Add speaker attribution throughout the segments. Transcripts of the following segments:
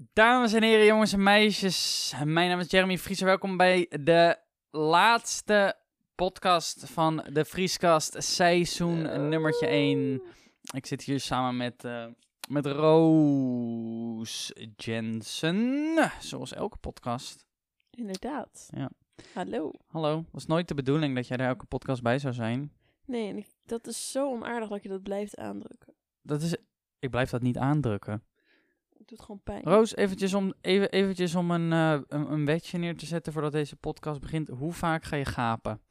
Speaker 1: Dames en heren, jongens en meisjes. Mijn naam is Jeremy Fries. Welkom bij de laatste podcast van de Vrieskast, seizoen nummertje 1. Ik zit hier samen met, eh, met Roos Jensen, zoals elke podcast.
Speaker 2: Inderdaad.
Speaker 1: Ja.
Speaker 2: Hallo.
Speaker 1: Hallo, was nooit de bedoeling dat jij er elke podcast bij zou zijn.
Speaker 2: Nee, en ik- dat is zo onaardig dat je dat blijft aandrukken.
Speaker 1: Dat is, ik blijf dat niet aandrukken.
Speaker 2: Het doet gewoon pijn.
Speaker 1: Roos, eventjes om, even, eventjes om een, eh, een, een wetje neer te zetten voordat deze podcast begint. Hoe vaak ga je gapen?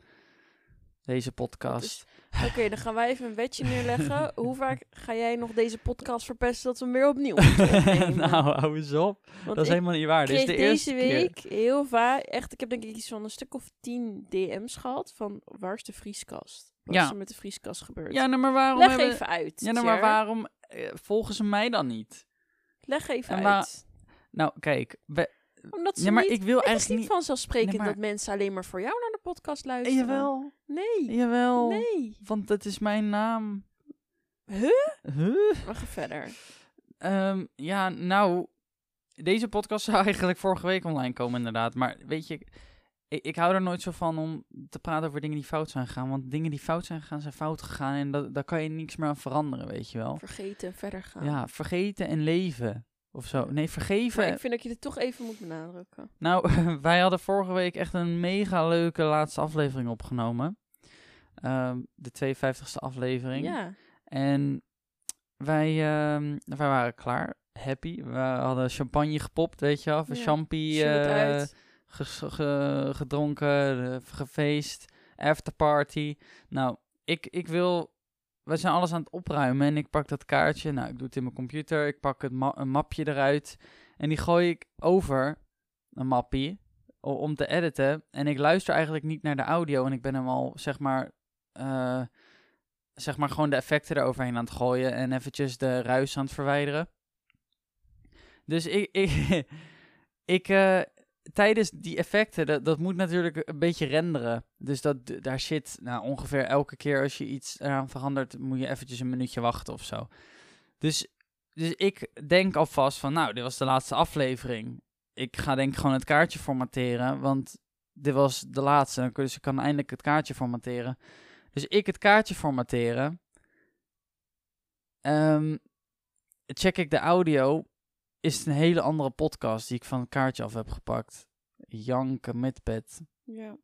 Speaker 1: Deze
Speaker 2: Dat
Speaker 1: podcast.
Speaker 2: is- Dus, Oké, dan gaan wij even een wedje neerleggen. Hoe vaak ga jij nog deze podcast verpesten dat we hem weer opnieuw moeten opnemen?
Speaker 1: nou, hou eens op.
Speaker 2: Want
Speaker 1: dat is
Speaker 2: ik
Speaker 1: helemaal niet waar. Dit is
Speaker 2: kreeg
Speaker 1: de eerste
Speaker 2: deze
Speaker 1: keer.
Speaker 2: week heel vaak, echt, ik heb denk ik iets van een stuk of tien DM's gehad van waar is de vrieskast? Wat
Speaker 1: Ja.
Speaker 2: is er met de vrieskast gebeurd?
Speaker 1: Ja, nou, maar waarom
Speaker 2: Leg
Speaker 1: hebben...
Speaker 2: even uit.
Speaker 1: Ja, nou, maar
Speaker 2: Jer.
Speaker 1: waarom eh, volgen ze mij dan niet?
Speaker 2: Leg even
Speaker 1: En waar-
Speaker 2: uit.
Speaker 1: Nou, kijk. we-
Speaker 2: Omdat ze
Speaker 1: ja, maar
Speaker 2: niet,
Speaker 1: ik wil
Speaker 2: het is
Speaker 1: eigenlijk
Speaker 2: niet
Speaker 1: niet...
Speaker 2: vanzelfsprekend
Speaker 1: Nee, maar-
Speaker 2: dat mensen alleen maar voor jou naar de podcast
Speaker 1: Eh,
Speaker 2: luisteren.
Speaker 1: Jawel,
Speaker 2: Nee.
Speaker 1: jawel.
Speaker 2: Nee.
Speaker 1: Want dat is mijn naam.
Speaker 2: Huh?
Speaker 1: Huh?
Speaker 2: We gaan verder.
Speaker 1: Ehm, ja, nou, deze podcast zou eigenlijk vorige week online komen, inderdaad. Maar weet je, ik, ik hou er nooit zo van om te praten over dingen die fout zijn gegaan. Want dingen die fout zijn gegaan, zijn fout gegaan. En dat, daar kan je niks meer aan veranderen, weet je wel.
Speaker 2: Vergeten en verder gaan.
Speaker 1: Ja, vergeten en leven. Of zo. Nee,
Speaker 2: Maar
Speaker 1: vergeven.
Speaker 2: ik vind dat je het toch even moet benadrukken.
Speaker 1: Nou, wij hadden vorige week echt een mega leuke laatste aflevering opgenomen. Ehm, de 52e aflevering.
Speaker 2: Ja.
Speaker 1: En wij, ehm, wij waren klaar. Happy. We hadden champagne gepopt, weet je wel. Of een
Speaker 2: Ja,
Speaker 1: champie
Speaker 2: Zie het
Speaker 1: eh,
Speaker 2: uit.
Speaker 1: ges- ge- gedronken, eh, gefeest, afterparty. Nou, ik, ik wil... We zijn alles aan het opruimen en ik pak dat kaartje. Nou, ik doe het in mijn computer. Ik pak het ma- een mapje eruit en die gooi ik over een mappie o- om te editen. En ik luister eigenlijk niet naar de audio en ik ben hem al, zeg maar... eh, zeg maar gewoon de effecten eroverheen aan het gooien en eventjes de ruis aan het verwijderen. Dus ik, ik, ik eh, tijdens die effecten, dat, dat moet natuurlijk een beetje renderen. Dus dat, daar zit nou, ongeveer elke keer als je iets eraan verandert, moet je eventjes een minuutje wachten of zo. Dus, dus ik denk alvast van, nou, dit was de laatste aflevering. Ik ga denk ik gewoon het kaartje formatteren, want dit was de laatste. Dus ik kan eindelijk het kaartje formatteren. Dus ik het kaartje formatteren. Ehm, check ik de audio. Is het een hele andere podcast die ik van het kaartje af heb gepakt. Janken met pet.
Speaker 2: Ja.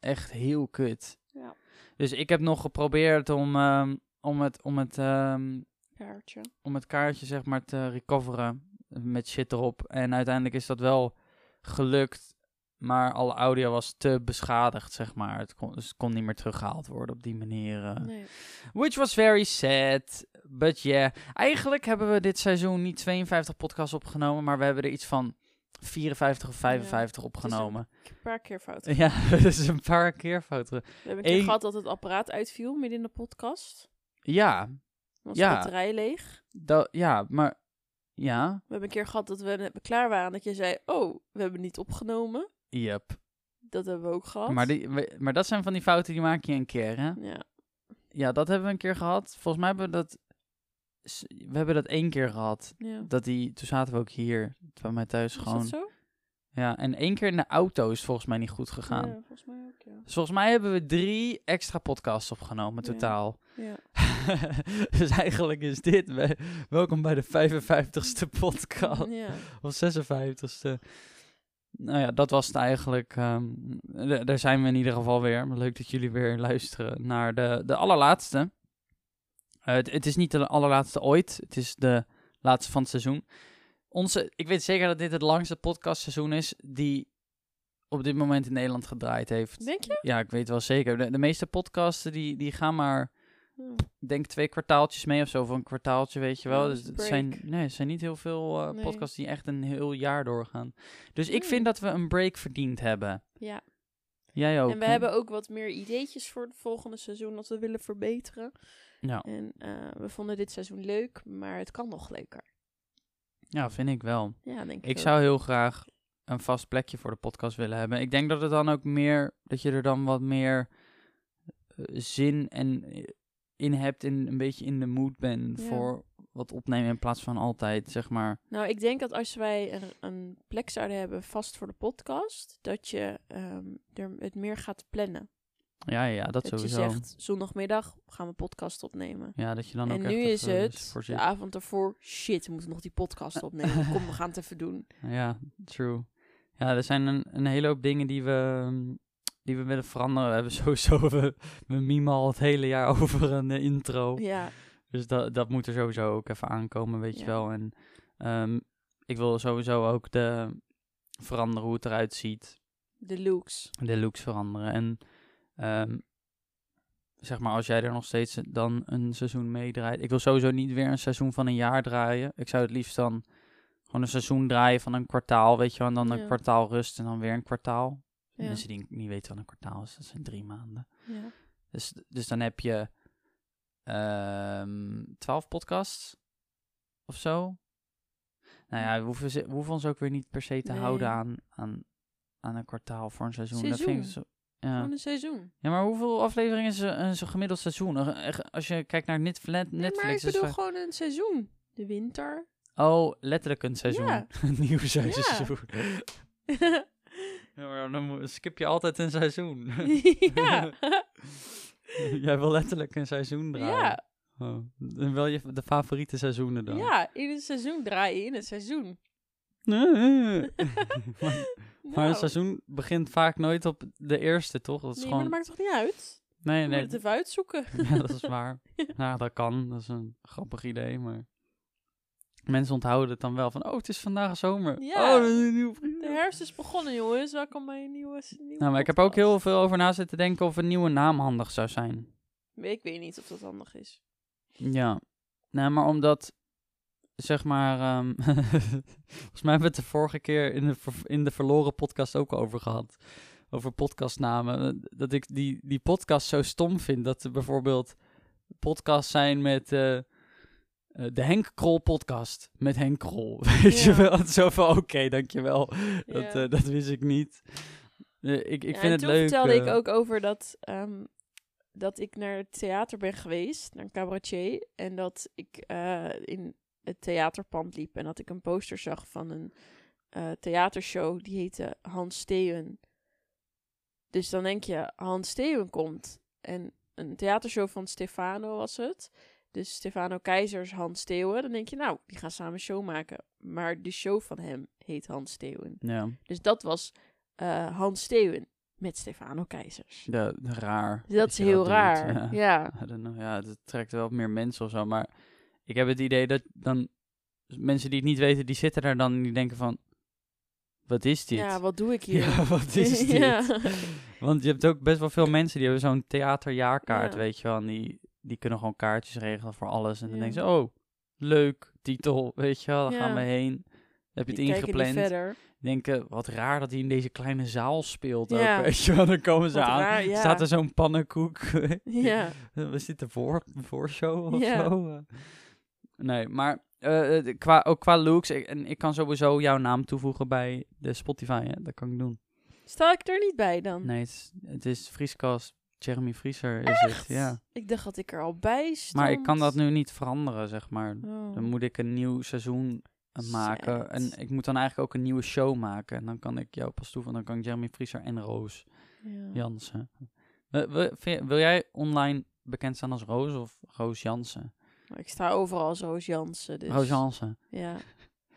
Speaker 1: Echt heel kut.
Speaker 2: Ja.
Speaker 1: Dus ik heb nog geprobeerd om, ehm, om, het, om, het, ehm,
Speaker 2: Kaartje.
Speaker 1: om het kaartje zeg maar te recoveren. Met shit erop. En uiteindelijk is dat wel gelukt. Maar alle audio was te beschadigd, zeg maar. Het kon, dus het kon niet meer teruggehaald worden op die manier. eh.
Speaker 2: Nee.
Speaker 1: Which was very sad. But yeah. Eigenlijk hebben we dit seizoen niet 52 podcasts opgenomen, maar we hebben er iets van 54 of 55 opgenomen.
Speaker 2: Ik heb een paar keer fout. gedaan.
Speaker 1: Ja, dat is een paar keer fout. terug.
Speaker 2: We hebben een keer
Speaker 1: Eén-
Speaker 2: gehad dat het apparaat uitviel midden in de podcast.
Speaker 1: Ja,
Speaker 2: Dan was
Speaker 1: Ja.
Speaker 2: de batterij leeg.
Speaker 1: dat, ja, maar ja,
Speaker 2: We hebben een keer gehad dat we net klaar waren. Dat je zei, oh, we hebben niet opgenomen.
Speaker 1: yep.
Speaker 2: Dat hebben we ook gehad.
Speaker 1: Maar, die, we- maar dat zijn van die fouten die maak je een keer, hè?
Speaker 2: Ja.
Speaker 1: Ja, dat hebben we een keer gehad. Volgens mij hebben we dat, s- we hebben dat één keer gehad.
Speaker 2: ja.
Speaker 1: Dat die, toen zaten we ook hier, bij mij thuis
Speaker 2: Is
Speaker 1: gewoon.
Speaker 2: dat zo?
Speaker 1: Ja, en één keer in de auto is volgens mij niet goed gegaan.
Speaker 2: Ja, volgens mij ook, ja.
Speaker 1: Dus volgens mij hebben we drie extra podcasts opgenomen
Speaker 2: Ja.
Speaker 1: totaal.
Speaker 2: ja.
Speaker 1: dus eigenlijk is dit we- welkom bij de 55ste podcast.
Speaker 2: Ja.
Speaker 1: Of 56ste. Nou ja, dat was het eigenlijk. ehm, d- daar zijn we in ieder geval weer. Maar Leuk dat jullie weer luisteren naar de, de allerlaatste. Eh, het, het is niet de allerlaatste ooit. Het is de laatste van het seizoen. Onze, ik weet zeker dat dit het langste podcastseizoen is die op dit moment in Nederland gedraaid heeft.
Speaker 2: Denk je?
Speaker 1: Ja, ik weet wel zeker. De, de meeste podcasten die, die gaan maar,
Speaker 2: Ja.
Speaker 1: ik denk twee kwartaaltjes mee of zo. Of een kwartaaltje, weet je wel.
Speaker 2: Ja,
Speaker 1: dus
Speaker 2: dat is
Speaker 1: het
Speaker 2: Oh, break.
Speaker 1: zijn, nee, het zijn niet heel veel eh,
Speaker 2: Nee. Hmm.
Speaker 1: podcasts die echt een heel jaar doorgaan. Dus ik
Speaker 2: Nee.
Speaker 1: vind dat we een break verdiend hebben.
Speaker 2: Ja.
Speaker 1: Jij ook.
Speaker 2: En we
Speaker 1: hè?
Speaker 2: hebben ook wat meer ideetjes voor het volgende seizoen dat we willen verbeteren.
Speaker 1: Ja.
Speaker 2: En eh, we vonden dit seizoen leuk, maar het kan nog leuker.
Speaker 1: ja, vind ik wel.
Speaker 2: Ja, denk ik.
Speaker 1: Ik
Speaker 2: ook.
Speaker 1: zou heel graag een vast plekje voor de podcast willen hebben. Ik denk dat het dan ook meer, dat je er dan wat meer eh, zin en eh, in hebt en een beetje in de mood bent
Speaker 2: Ja.
Speaker 1: voor wat opnemen in plaats van altijd, zeg maar.
Speaker 2: Nou, ik denk dat als wij een, een plek zouden hebben vast voor de podcast, dat je ehm, er het meer gaat plannen.
Speaker 1: Ja, ja, dat,
Speaker 2: Dat, je
Speaker 1: sowieso.
Speaker 2: zegt, zondagmiddag gaan we podcast opnemen.
Speaker 1: ja, dat je dan ook
Speaker 2: en
Speaker 1: echt
Speaker 2: nu is
Speaker 1: even
Speaker 2: het
Speaker 1: voor
Speaker 2: de
Speaker 1: zit.
Speaker 2: avond ervoor, shit, we moeten nog die podcast opnemen. Kom, we gaan het even doen.
Speaker 1: Ja, true. Ja, er zijn een, een hele hoop dingen die we, ehm, die we willen veranderen. We hebben sowieso, we, we memen al het hele jaar over een eh, intro.
Speaker 2: Ja,
Speaker 1: Dus dat, dat moet er sowieso ook even aankomen, weet je
Speaker 2: Ja.
Speaker 1: wel. En ehm, ik wil sowieso ook de, veranderen hoe het eruit ziet.
Speaker 2: de looks.
Speaker 1: De looks veranderen. En ehm, zeg maar, als jij er nog steeds dan een seizoen mee draait. Ik wil sowieso niet weer een seizoen van een jaar draaien. Ik zou het liefst dan gewoon een seizoen draaien van een kwartaal, weet je wel. En dan een
Speaker 2: Ja.
Speaker 1: kwartaal rust en dan weer een kwartaal.
Speaker 2: Ja.
Speaker 1: Mensen die niet weten wat een kwartaal is, dat zijn drie maanden.
Speaker 2: Ja.
Speaker 1: Dus, dus dan heb je ehm 12 podcasts of zo. Nou ja, we hoeven, ze- we hoeven ons ook weer niet per se te
Speaker 2: Nee.
Speaker 1: houden aan, aan, aan een kwartaal voor een seizoen. Dat vind ik
Speaker 2: Seizoen. Oh,
Speaker 1: zo- ja.
Speaker 2: Gewoon een seizoen.
Speaker 1: ja, maar hoeveel afleveringen is een, een zo gemiddeld seizoen? Een- echt, Als je kijkt naar Netflix...
Speaker 2: Nee,
Speaker 1: Netflix
Speaker 2: maar ik
Speaker 1: is
Speaker 2: bedoel
Speaker 1: vaak-
Speaker 2: gewoon een seizoen. De winter.
Speaker 1: Oh, letterlijk een seizoen.
Speaker 2: Ja.
Speaker 1: Een nieuw seizoen. Ja, maar dan mo- skip je altijd een seizoen.
Speaker 2: ja.
Speaker 1: Jij wil letterlijk een seizoen draaien.
Speaker 2: ja.
Speaker 1: Oh, dan wil je de favoriete seizoenen dan?
Speaker 2: Ja, in een seizoen draai je in een seizoen.
Speaker 1: maar, maar
Speaker 2: Nou,
Speaker 1: een seizoen begint vaak nooit op de eerste, toch? Dat is
Speaker 2: nee, maar dat
Speaker 1: gewoon...
Speaker 2: maakt toch niet uit?
Speaker 1: Nee,
Speaker 2: Je moet
Speaker 1: nee.
Speaker 2: het even uitzoeken.
Speaker 1: ja, dat is waar. Nou, dat kan. Dat is een grappig idee, maar... Mensen onthouden het dan wel van... Oh, het is vandaag zomer.
Speaker 2: Ja.
Speaker 1: Oh, dat is een nieuw vriend.
Speaker 2: De herfst is begonnen, jongens. Welkom bij een nieuwe, nieuwe
Speaker 1: Nou, maar ik heb ook
Speaker 2: podcast.
Speaker 1: heel veel over na zitten denken of een nieuwe naam handig zou zijn.
Speaker 2: Ik weet niet of dat handig is.
Speaker 1: Ja. Nou, maar omdat... Zeg maar... ehm, volgens mij hebben we het de vorige keer in de, ver- in de verloren podcast ook over gehad. Over podcastnamen. Eh, Dat ik die, die podcast zo stom vind. Dat er bijvoorbeeld podcasts zijn met... eh, eh, de Henk Krol podcast met Henk Krol. Weet je
Speaker 2: Ja.
Speaker 1: wel? Het is Zo van, oké, dankjewel. Dat,
Speaker 2: Ja.
Speaker 1: eh, dat wist ik niet. Eh, ik ik
Speaker 2: Ja, en
Speaker 1: vind het
Speaker 2: toen
Speaker 1: leuk.
Speaker 2: vertelde
Speaker 1: eh,
Speaker 2: ik ook over dat, ehm, dat ik naar het theater ben geweest, naar een cabaretier. En dat ik eh, in het theaterpand liep en dat ik een poster zag van een eh, theatershow die heette Hans Steeuwen. Dus dan denk je, Hans Steeuwen komt. En een theatershow van Stefano was het. Dus Stefano Keizers, Hans Steeuwen. Dan denk je, nou, die gaan samen een show maken. Maar de show van hem heet Hans Steeuwen.
Speaker 1: Ja,
Speaker 2: Dus dat was eh, Hans Steeuwen met Stefano Keizers.
Speaker 1: ja, raar.
Speaker 2: Dus dat is
Speaker 1: je dat
Speaker 2: heel
Speaker 1: doet,
Speaker 2: raar.
Speaker 1: ja.
Speaker 2: Ja.
Speaker 1: I don't know. Ja, het trekt wel meer mensen of zo. Maar ik heb het idee dat dan mensen die het niet weten, die zitten daar dan en die denken van, wat is dit?
Speaker 2: Ja, wat doe ik hier?
Speaker 1: Ja, wat is dit?
Speaker 2: Ja.
Speaker 1: Want je hebt ook best wel veel mensen die hebben zo'n theaterjaarkaart,
Speaker 2: Ja.
Speaker 1: weet je wel. En die, die kunnen gewoon kaartjes regelen voor alles. En dan
Speaker 2: Ja.
Speaker 1: denken ze, oh, leuk, titel, weet je wel, daar
Speaker 2: Ja.
Speaker 1: gaan we heen. Dan heb je
Speaker 2: Die
Speaker 1: het
Speaker 2: kijken niet
Speaker 1: ingepland.
Speaker 2: verder.
Speaker 1: Denken, wat raar dat hij in deze kleine zaal speelt
Speaker 2: Ja.
Speaker 1: ook, weet je wel. Dan komen ze
Speaker 2: Wat
Speaker 1: aan,
Speaker 2: raar, ja.
Speaker 1: staat dus- er zo'n pannenkoek.
Speaker 2: Ja.
Speaker 1: Eh, Was dit de voor, voorshow of
Speaker 2: Ja.
Speaker 1: zo? Eh, Nee, maar eh, eh, de- qua, ook qua looks. Ik, en ik kan sowieso jouw naam toevoegen bij de Spotify. Hè? Dat kan ik doen.
Speaker 2: Sta ik er niet bij dan?
Speaker 1: Nee, het is, het is Vrieskast. Jeremy Vrieser is het, ja.
Speaker 2: Ik dacht dat ik er al bij stond.
Speaker 1: Maar ik kan dat nu niet veranderen, zeg maar.
Speaker 2: Oh.
Speaker 1: Dan moet ik een nieuw seizoen eh, maken. En
Speaker 2: Zet.
Speaker 1: ik moet dan eigenlijk ook een nieuwe show maken. En dan kan ik jou pas toevoegen. Dan kan ik Jeremy Vrieser en Roos
Speaker 2: Mm. Ja.
Speaker 1: Jansen. Wil, wil, vind je- wil jij online bekend staan als Roos of Roos Jansen?
Speaker 2: Maar Ik sta overal als Roos Jansen. Dus.
Speaker 1: Roos Jansen.
Speaker 2: Ja.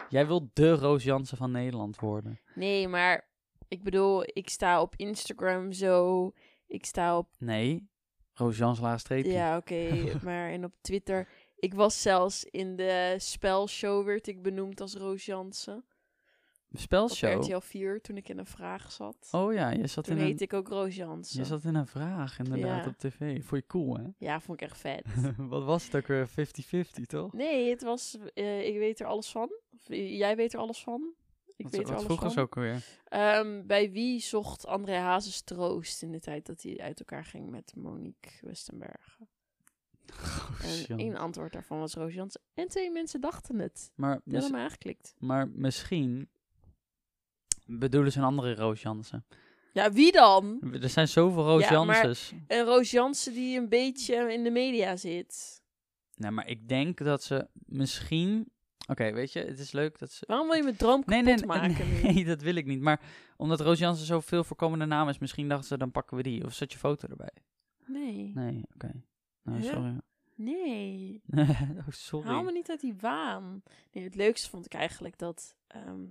Speaker 1: Jij wilt de Roos Jansen van Nederland worden.
Speaker 2: Nee, maar ik bedoel, ik sta op Instagram zo. Ik sta op
Speaker 1: Nee, Roos Jansen laagstreepje.
Speaker 2: Ja, oké. maar en op Twitter. Ik was zelfs in de spelshow werd ik benoemd als Roos Jansen. Op
Speaker 1: Spelshow.
Speaker 2: RTL 4 toen ik in een vraag zat.
Speaker 1: Oh ja, je zat,
Speaker 2: toen
Speaker 1: in een,
Speaker 2: heette ik ook Roos
Speaker 1: je
Speaker 2: Jansen.
Speaker 1: zat in een vraag inderdaad
Speaker 2: Ja.
Speaker 1: op tv. Vond je cool, hè?
Speaker 2: Ja, vond ik echt vet.
Speaker 1: Wat was het ook weer? 50-50, toch?
Speaker 2: nee, het was... eh, ik weet er alles van. Of, eh, jij weet er alles van. Ik
Speaker 1: Wat-
Speaker 2: weet
Speaker 1: wat
Speaker 2: er alles
Speaker 1: vroeger
Speaker 2: van.
Speaker 1: zo ook weer.
Speaker 2: Ehm, bij wie zocht André Hazes troost in de tijd dat hij uit elkaar ging met Monique Westenberg?
Speaker 1: Roos
Speaker 2: En
Speaker 1: Jansen.
Speaker 2: één antwoord daarvan was Roos Jansen. En twee mensen dachten het.
Speaker 1: Maar,
Speaker 2: Die
Speaker 1: mis-
Speaker 2: hadden me aangeklikt.
Speaker 1: maar misschien bedoelen ze een andere Roos Jansen.
Speaker 2: Ja, wie dan?
Speaker 1: Er zijn zoveel Roos
Speaker 2: Ja, maar-
Speaker 1: Jansens.
Speaker 2: Een Roos Jansen die een beetje in de media zit.
Speaker 1: Nou, maar ik denk dat ze misschien... Oké, weet je, het is leuk dat ze...
Speaker 2: Waarom wil je mijn droom kapot
Speaker 1: Nee, nee, nee,
Speaker 2: maken nu?
Speaker 1: nee, dat wil ik niet. Maar omdat Roos Jansen zoveel voorkomende naam is, misschien dachten ze, dan pakken we die. Of zet je foto erbij.
Speaker 2: Nee,
Speaker 1: Nee, oké. Nou,
Speaker 2: Huh?
Speaker 1: sorry.
Speaker 2: nee.
Speaker 1: oh,
Speaker 2: Haal me
Speaker 1: sorry.
Speaker 2: niet uit die waan. Nee, het leukste vond ik eigenlijk dat ehm,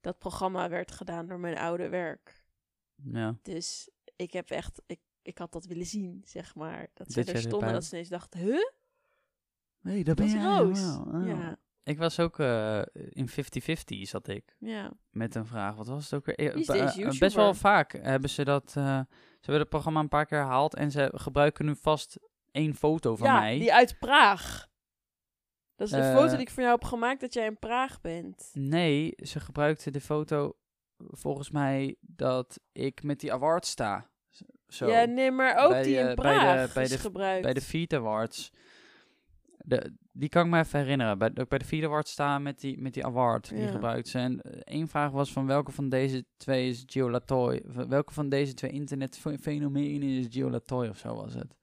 Speaker 2: dat programma werd gedaan door mijn oude werk.
Speaker 1: Ja.
Speaker 2: Dus ik heb echt, ik, ik had dat willen zien, zeg maar. Dat ze
Speaker 1: Dat
Speaker 2: er
Speaker 1: jij erbij
Speaker 2: stonden en dat
Speaker 1: was.
Speaker 2: ze ineens dachten, huh,
Speaker 1: Nee, dat
Speaker 2: dat is Roos.
Speaker 1: Ja. oh.
Speaker 2: Ja,
Speaker 1: Ik was ook eh, in 50-50 zat ik.
Speaker 2: ja.
Speaker 1: met een vraag. Wat was het ook weer? Eh,
Speaker 2: Wie is
Speaker 1: ba-
Speaker 2: deze
Speaker 1: eh,
Speaker 2: YouTuber?
Speaker 1: best wel vaak hebben ze dat. eh, ze hebben het programma een paar keer herhaald en ze gebruiken nu vast één foto van
Speaker 2: ja
Speaker 1: mij.
Speaker 2: die uit Praag. Dat is de
Speaker 1: Eh,
Speaker 2: foto die ik voor jou heb gemaakt dat jij in Praag bent.
Speaker 1: Nee, ze gebruikten de foto volgens mij dat ik met die award sta. Z- Zo.
Speaker 2: Ja, nee, maar ook
Speaker 1: Bij,
Speaker 2: die
Speaker 1: eh, bij
Speaker 2: in
Speaker 1: de-
Speaker 2: Praag
Speaker 1: bij
Speaker 2: is
Speaker 1: de-
Speaker 2: gebruikt.
Speaker 1: Bij de Feed Awards. De, die kan ik me even herinneren. Bij, dat ik bij de Feed Awards sta met die, met die award. Die
Speaker 2: Ja.
Speaker 1: gebruikt ze. En eh, één vraag was van welke van deze twee is Gio Latoy? Of Welke van deze twee internetfenomenen is Gio Latoy of zo was het?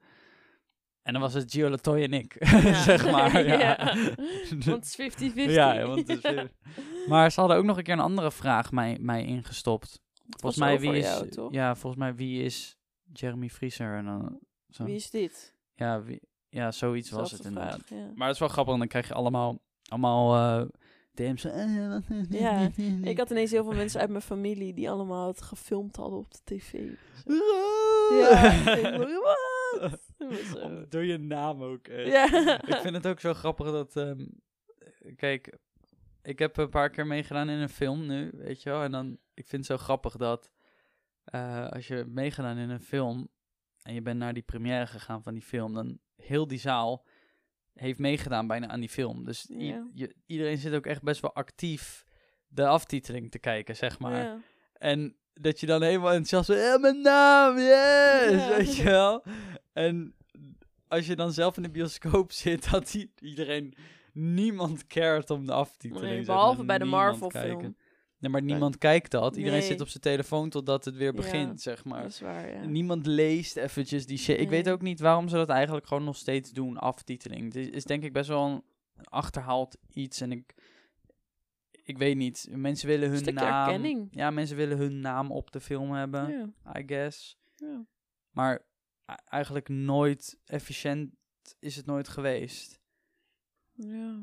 Speaker 1: En dan was het Gio Latoy en ik. zeg maar. Ja.
Speaker 2: Ja. Want het is 50-50.
Speaker 1: Ja, want het is weer- Maar ze hadden ook nog een keer een andere vraag mij, mij ingestopt. Volgens mij,
Speaker 2: over
Speaker 1: wie is,
Speaker 2: jou, toch?
Speaker 1: ja, volgens mij wie is Jeremy Frieser? En dan, zo.
Speaker 2: Wie is dit?
Speaker 1: Ja, wie, ja, zoiets was
Speaker 2: Dat
Speaker 1: het
Speaker 2: de vraag,
Speaker 1: inderdaad.
Speaker 2: ja.
Speaker 1: Maar het is wel grappig, want dan krijg je allemaal, allemaal eh, DM's. eh, wat-
Speaker 2: Ja, Ik had ineens heel veel mensen uit mijn familie die allemaal het gefilmd hadden op de tv. Ja, ik dacht, wat? Dat was zo.
Speaker 1: Om- Door je naam ook. eh.
Speaker 2: Ja.
Speaker 1: Ik vind het ook zo grappig dat... ehm, kijk, ik heb een paar keer meegedaan in een film nu, weet je wel. En dan, ik vind het zo grappig dat eh, als je hebt meegedaan in een film... en je bent naar die première gegaan van die film... dan heel die zaal heeft meegedaan bijna aan die film. Dus i-
Speaker 2: Ja.
Speaker 1: je, iedereen zit ook echt best wel actief de aftiteling te kijken, zeg maar.
Speaker 2: Ja.
Speaker 1: En dat je dan helemaal enthousiast bent. "Ja, mijn naam, yes!
Speaker 2: Ja.
Speaker 1: Weet je wel? En als je dan zelf in de bioscoop zit, had i- iedereen... Niemand cared om de aftiteling.
Speaker 2: Nee,
Speaker 1: zeg maar.
Speaker 2: behalve bij de
Speaker 1: Niemand
Speaker 2: Marvel
Speaker 1: kijken.
Speaker 2: film.
Speaker 1: Nee, maar niemand kijkt dat. Iedereen
Speaker 2: Nee.
Speaker 1: zit op zijn telefoon totdat het weer
Speaker 2: Ja.
Speaker 1: begint, zeg
Speaker 2: Dat
Speaker 1: maar.
Speaker 2: is waar, ja.
Speaker 1: Niemand leest eventjes die shit. Ik weet
Speaker 2: Nee.
Speaker 1: ook niet waarom ze dat eigenlijk gewoon nog steeds doen, aftiteling. Het is- is denk ik best wel een achterhaald iets. En ik, ik weet niet. Mensen willen hun
Speaker 2: Stukje
Speaker 1: naam...
Speaker 2: erkenning.
Speaker 1: Ja, mensen willen hun naam op de film hebben,
Speaker 2: Ja,
Speaker 1: I guess.
Speaker 2: ja.
Speaker 1: Maar e- eigenlijk nooit efficiënt is het nooit geweest.
Speaker 2: ja.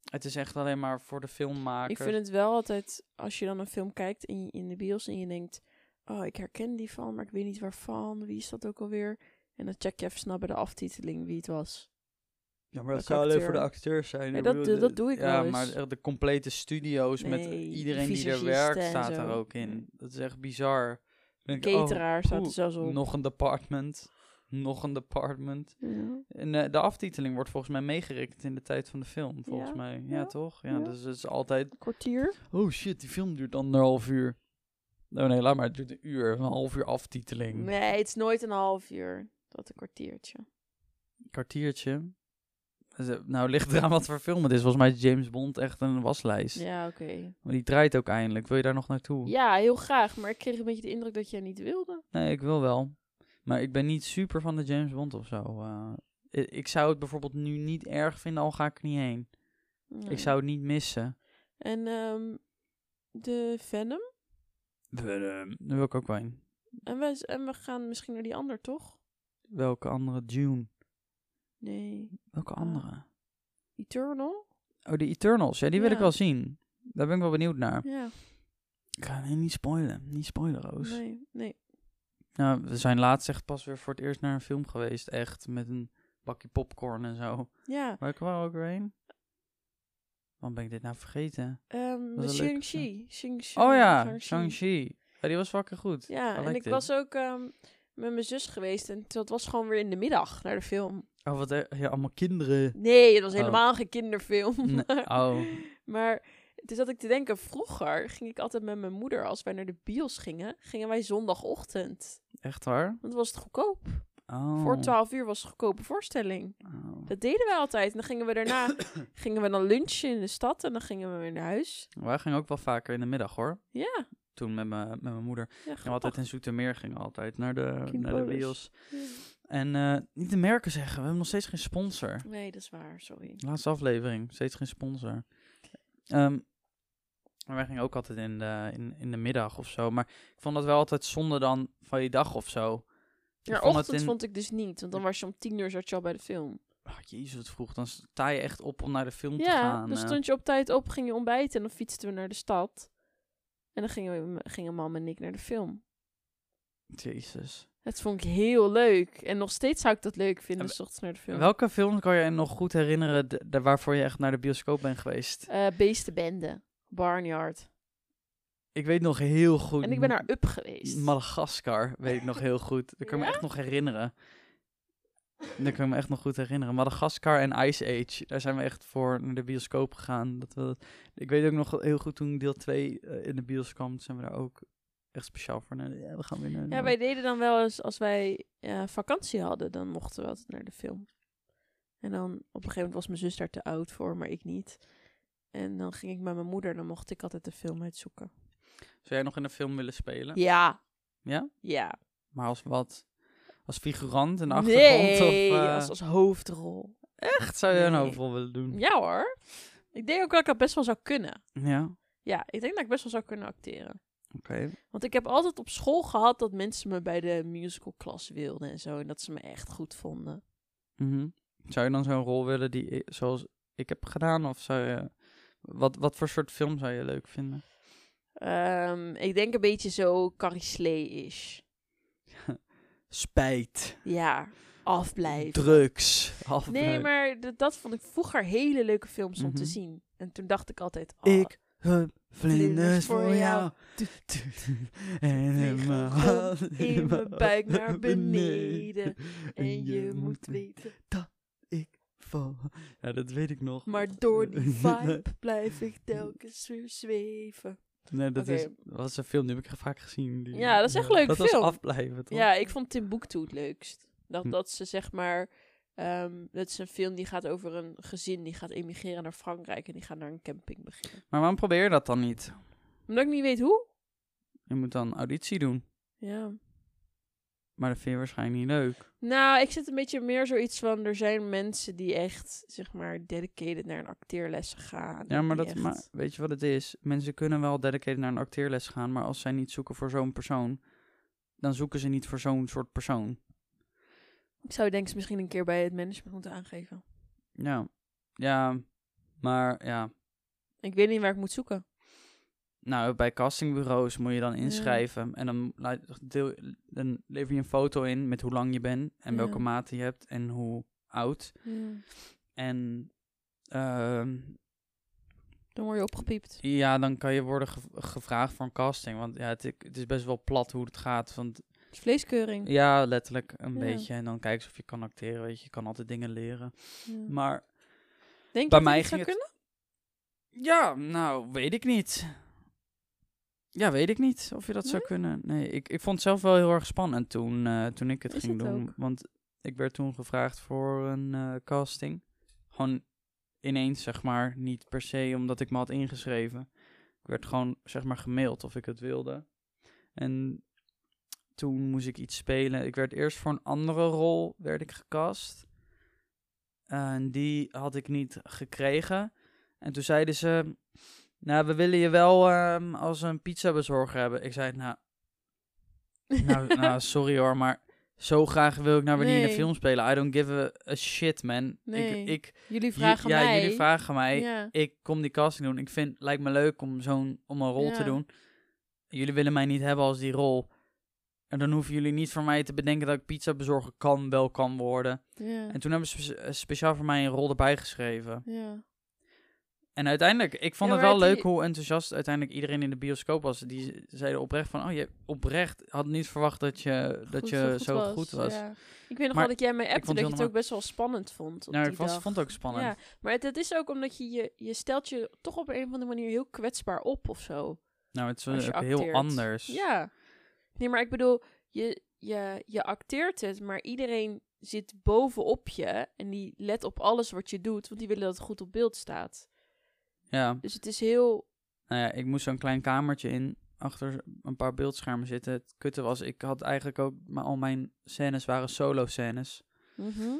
Speaker 1: Het is echt alleen maar voor de filmmaker.
Speaker 2: Ik vind het wel altijd, als je dan een film kijkt in, in de bios en je denkt... Oh, ik herken die van, maar ik weet niet waarvan. Wie is dat ook alweer? En dan check je even snel bij de aftiteling wie het was.
Speaker 1: ja, maar dat
Speaker 2: Welke
Speaker 1: zou alleen voor de
Speaker 2: acteur?
Speaker 1: acteurs zijn.
Speaker 2: Ja,
Speaker 1: Ik
Speaker 2: dat
Speaker 1: bedoel,
Speaker 2: doe- dat doe ik
Speaker 1: ja,
Speaker 2: wel eens.
Speaker 1: maar echt de complete studio's met
Speaker 2: Nee,
Speaker 1: iedereen die er
Speaker 2: visagisten
Speaker 1: werkt
Speaker 2: en
Speaker 1: staat
Speaker 2: zo.
Speaker 1: er ook in. Dat is echt bizar. Dan denk ik, oh,
Speaker 2: Cateraar staat er
Speaker 1: poeh,
Speaker 2: zelfs op.
Speaker 1: nog een department. Nog een department.
Speaker 2: Ja.
Speaker 1: En eh, de aftiteling wordt volgens mij meegerekend in de tijd van de film. Volgens
Speaker 2: Ja,
Speaker 1: mij. Ja,
Speaker 2: ja,
Speaker 1: toch? ja,
Speaker 2: ja.
Speaker 1: dus het is altijd
Speaker 2: Kwartier?
Speaker 1: Oh shit, die film duurt anderhalf uur. Oh nee, laat maar, het duurt een uur. Een half uur aftiteling.
Speaker 2: Nee, het is nooit een half uur. Dat een kwartiertje.
Speaker 1: Kwartiertje. Dus, eh, Nou, ligt eraan wat voor film het is. Volgens mij is James Bond echt een waslijst.
Speaker 2: Ja, oké.
Speaker 1: Maar die draait ook eindelijk. Wil je daar nog naartoe?
Speaker 2: Ja, heel graag. Maar ik kreeg een beetje de indruk dat jij niet wilde.
Speaker 1: Nee, ik wil wel. Maar ik ben niet super van de James Bond of zo. eh. I- ik zou het bijvoorbeeld nu niet erg vinden, al ga ik er niet heen.
Speaker 2: Nee.
Speaker 1: Ik zou het niet missen.
Speaker 2: En ehm, de Venom.
Speaker 1: eh, Daar wil ik ook wel heen.
Speaker 2: En we, en we gaan misschien naar die ander, toch?
Speaker 1: Welke andere? Dune.
Speaker 2: Nee.
Speaker 1: Welke
Speaker 2: Ah.
Speaker 1: andere?
Speaker 2: Eternal?
Speaker 1: Oh, de Eternals. Ja, die wil
Speaker 2: Ja.
Speaker 1: ik wel zien. Daar ben ik wel benieuwd naar.
Speaker 2: Ja.
Speaker 1: Ik ga nee, niet spoilen. Niet spoilen, Roos.
Speaker 2: Nee, nee.
Speaker 1: Nou, we zijn laatst echt pas weer voor het eerst naar een film geweest. Echt, met een bakje popcorn en zo.
Speaker 2: Ja.
Speaker 1: Waar kwam we ook weer heen? Waarom ben ik dit nou vergeten?
Speaker 2: ehm,
Speaker 1: Dat
Speaker 2: de
Speaker 1: is een leuk
Speaker 2: Shang-Chi. Shang-Chi.
Speaker 1: oh ja,
Speaker 2: Shang-Chi.
Speaker 1: Shang-Chi. Ja, die was fucking goed. I
Speaker 2: Ja, en
Speaker 1: liked
Speaker 2: ik
Speaker 1: it.
Speaker 2: was ook ehm, met mijn zus geweest. En dat was gewoon weer in de middag naar de film.
Speaker 1: Oh, wat er, ja, allemaal kinderen.
Speaker 2: Nee, het was
Speaker 1: Oh.
Speaker 2: helemaal geen kinderfilm.
Speaker 1: Nee, Oh,
Speaker 2: Maar toen zat ik te denken, vroeger ging ik altijd met mijn moeder, als wij naar de bios gingen, gingen wij zondagochtend.
Speaker 1: echt waar?
Speaker 2: Want was het goedkoop.
Speaker 1: Oh.
Speaker 2: Voor 12 uur was het goedkope voorstelling.
Speaker 1: Oh.
Speaker 2: Dat deden wij altijd. En dan gingen we daarna gingen we dan lunchen in de stad en dan gingen we weer naar huis.
Speaker 1: Wij gingen ook wel vaker in de middag, hoor.
Speaker 2: Ja,
Speaker 1: Toen met mijn met mijn moeder.
Speaker 2: ja
Speaker 1: En we altijd in Zoetermeer gingen we altijd naar de, naar de
Speaker 2: Kindpolis.
Speaker 1: bios.
Speaker 2: grappig.
Speaker 1: Eh, En eh, niet de merken zeggen, we hebben nog steeds geen sponsor.
Speaker 2: Nee, dat is waar, sorry.
Speaker 1: Laatste aflevering, steeds geen sponsor. Ehm, maar wij gingen ook altijd in de, in, in de middag of zo. Maar ik vond dat wel altijd zonde dan van je dag of zo. Ik
Speaker 2: Ja,
Speaker 1: vond het
Speaker 2: ochtend
Speaker 1: in-
Speaker 2: vond ik dus niet, want dan was je om tien uur zat je al bij de film.
Speaker 1: Oh, jezus, wat vroeg. Dan sta je echt op om naar de film te
Speaker 2: ja, dus
Speaker 1: gaan.
Speaker 2: dan
Speaker 1: eh.
Speaker 2: stond je op tijd op, ging je ontbijten en dan fietsten we naar de stad. En dan gingen, we, gingen mam en ik naar de film.
Speaker 1: Jezus.
Speaker 2: Dat vond ik heel leuk. En nog steeds zou ik dat leuk vinden,
Speaker 1: En
Speaker 2: s ochtends naar de film.
Speaker 1: Welke film kan je nog goed herinneren d- d- waarvoor je echt naar de bioscoop bent geweest?
Speaker 2: Eh, Beestenbende, Barnyard.
Speaker 1: Oh, Ik weet nog heel goed...
Speaker 2: En ik ben naar Up geweest.
Speaker 1: Madagaskar weet ik nog heel goed. Dat kan ik me
Speaker 2: Ja?
Speaker 1: echt nog herinneren. Dat kan ik me echt nog goed herinneren. Madagaskar en Ice Age. Daar zijn we echt voor naar de bioscoop gegaan. Dat we, ik weet ook nog heel goed toen deel 2 in de bioscoop kwam. toen zijn we daar ook echt speciaal voor naar. Ja, we gaan weer naar.
Speaker 2: Ja, wij deden dan wel eens, als wij eh, vakantie hadden, dan mochten we altijd naar de film. En dan, op een gegeven moment was mijn zus daar te oud voor, maar ik niet. En dan ging ik met mijn moeder, dan mocht ik altijd de film uitzoeken.
Speaker 1: Zou jij nog in een film willen spelen?
Speaker 2: Ja.
Speaker 1: Ja?
Speaker 2: Ja.
Speaker 1: Maar als wat? Als figurant in de achtergrond?
Speaker 2: Nee,
Speaker 1: of, eh,
Speaker 2: als, als hoofdrol.
Speaker 1: Echt? Zou je een
Speaker 2: Nee.
Speaker 1: overal willen doen?
Speaker 2: Ja hoor. Ik denk ook dat ik dat best wel zou kunnen.
Speaker 1: Ja,
Speaker 2: Ja, ik denk dat ik best wel zou kunnen acteren.
Speaker 1: oké.
Speaker 2: Want ik heb altijd op school gehad dat mensen me bij de musical klas wilden en zo. En dat ze me echt goed vonden.
Speaker 1: Mhm. Zou je dan zo'n rol willen die i- zoals ik heb gedaan? Of zou je. Wat, wat voor soort film zou je leuk vinden?
Speaker 2: Ehm, ik denk een beetje zo Carrie is.
Speaker 1: Spijt.
Speaker 2: Ja, afblijven.
Speaker 1: Drugs.
Speaker 2: Nee, maar d- dat vond ik vroeger hele leuke films om te
Speaker 1: Mhm.
Speaker 2: zien. En toen dacht ik altijd... oh,
Speaker 1: Ik heb vlinders
Speaker 2: Vlinders voor
Speaker 1: voor jou.
Speaker 2: jou.
Speaker 1: Tu- tu- En in
Speaker 2: vliegen
Speaker 1: mijn
Speaker 2: rond
Speaker 1: hand-
Speaker 2: in mijn buik naar beneden. En je moet
Speaker 1: weer
Speaker 2: weten,
Speaker 1: Ik val. Ja, dat weet ik nog.
Speaker 2: maar door die vibe blijf ik telkens weer zweven.
Speaker 1: Nee, dat
Speaker 2: Oké.
Speaker 1: is, was een film die heb ik vaak gezien. Die,
Speaker 2: Ja, dat is echt een
Speaker 1: dat
Speaker 2: leuke film.
Speaker 1: was afblijven, toch?
Speaker 2: Ja, ik vond Timbuktu het leukst. Dat,
Speaker 1: Hm.
Speaker 2: dat ze zeg maar... ehm, dat is een film die gaat over een gezin die gaat emigreren naar Frankrijk en die gaat naar een camping beginnen.
Speaker 1: Maar waarom probeer je dat dan niet?
Speaker 2: Omdat ik niet weet hoe.
Speaker 1: Je moet dan auditie doen.
Speaker 2: Ja.
Speaker 1: Maar dat vind je waarschijnlijk niet leuk.
Speaker 2: Nou, ik zit een beetje meer zoiets van... er zijn mensen die echt, zeg maar, dedicated naar een acteerlessen gaan.
Speaker 1: Ja, maar,
Speaker 2: Die
Speaker 1: dat,
Speaker 2: echt-
Speaker 1: maar weet je wat het is? Mensen kunnen wel dedicated naar een acteerles gaan, maar als zij niet zoeken voor zo'n persoon, dan zoeken ze niet voor zo'n soort persoon.
Speaker 2: Ik zou denk ik misschien een keer bij het management moeten aangeven.
Speaker 1: Ja, ja maar ja.
Speaker 2: Ik weet niet waar ik moet zoeken.
Speaker 1: Nou, bij castingbureaus moet je dan inschrijven en dan, laat- deel, dan lever je een foto in met hoe lang je bent en
Speaker 2: Ja.
Speaker 1: welke mate je hebt en hoe oud. En ehm,
Speaker 2: Dan word je opgepiept.
Speaker 1: Ja, dan kan je worden gev- gevraagd voor een casting. Want ja, het, ik- het is best wel plat hoe het gaat. Want
Speaker 2: Het is vleeskeuring.
Speaker 1: ja, letterlijk een
Speaker 2: Ja.
Speaker 1: beetje. En dan kijken ze of je kan acteren. Weet je, je kan altijd dingen leren.
Speaker 2: Ja.
Speaker 1: Maar
Speaker 2: Denk je
Speaker 1: bij
Speaker 2: dat
Speaker 1: mij
Speaker 2: ik zou
Speaker 1: ging het-
Speaker 2: kunnen?
Speaker 1: ja, nou, weet ik niet. Ja, weet ik niet of je dat zou kunnen. Nee, ik, ik vond het zelf wel heel erg spannend toen, eh, toen ik het
Speaker 2: Is
Speaker 1: ging
Speaker 2: dat
Speaker 1: doen.
Speaker 2: ook?
Speaker 1: Want ik werd toen gevraagd voor een eh, casting. Gewoon ineens, zeg maar. Niet per se omdat ik me had ingeschreven. Ik werd gewoon, zeg maar, gemaild of ik het wilde. En toen moest ik iets spelen. Ik werd eerst voor een andere rol werd ik gecast. En die had ik niet gekregen. En toen zeiden ze... Nou, we willen je wel ehm, als een pizzabezorger hebben. Ik zei, nou... Nou, nou, sorry hoor, maar zo graag wil ik nou weer niet in
Speaker 2: Nee.
Speaker 1: een film spelen. I don't give a, a shit, man.
Speaker 2: Nee.
Speaker 1: Ik, ik,
Speaker 2: Jullie vragen
Speaker 1: ja,
Speaker 2: mij.
Speaker 1: jullie vragen mij.
Speaker 2: Ja.
Speaker 1: Ik kom die casting doen. Ik vind, lijkt me leuk om zo'n, om een rol te
Speaker 2: Ja.
Speaker 1: doen. Jullie willen mij niet hebben als die rol. En dan hoeven jullie niet voor mij te bedenken dat ik pizza bezorgen kan, wel kan worden.
Speaker 2: Ja.
Speaker 1: En toen hebben ze spe- eh, speciaal voor mij een rol erbij geschreven.
Speaker 2: Ja.
Speaker 1: En uiteindelijk, ik vond
Speaker 2: Ja,
Speaker 1: het
Speaker 2: maar
Speaker 1: wel
Speaker 2: het-
Speaker 1: leuk hoe enthousiast uiteindelijk iedereen in de bioscoop was. Die ze- zeiden oprecht van, oh je oprecht had niet verwacht dat je, dat
Speaker 2: Goed,
Speaker 1: je zo, goed was.
Speaker 2: Ja. Ik weet nog
Speaker 1: Maar
Speaker 2: wel dat jij mij appte
Speaker 1: vond het
Speaker 2: dat je
Speaker 1: heel
Speaker 2: het
Speaker 1: normaal.
Speaker 2: ook best wel spannend vond. op
Speaker 1: Nou,
Speaker 2: die
Speaker 1: ik vond,
Speaker 2: dag.
Speaker 1: vond het ook spannend.
Speaker 2: Ja, maar het, het is ook omdat je, je je stelt je toch op een of andere manier heel kwetsbaar op of zo.
Speaker 1: Nou, het is
Speaker 2: Als je
Speaker 1: ook heel
Speaker 2: acteert.
Speaker 1: anders.
Speaker 2: Ja. Nee, maar ik bedoel, je, je, je acteert het, maar iedereen zit bovenop je en die let op alles wat je doet, want die willen dat het goed op beeld staat.
Speaker 1: ja.
Speaker 2: Dus het is heel...
Speaker 1: Nou ja, ik moest zo'n klein kamertje in achter een paar beeldschermen zitten. Het kutte was, ik had eigenlijk ook... Maar al mijn scènes waren solo-scènes. En
Speaker 2: je
Speaker 1: Mhm.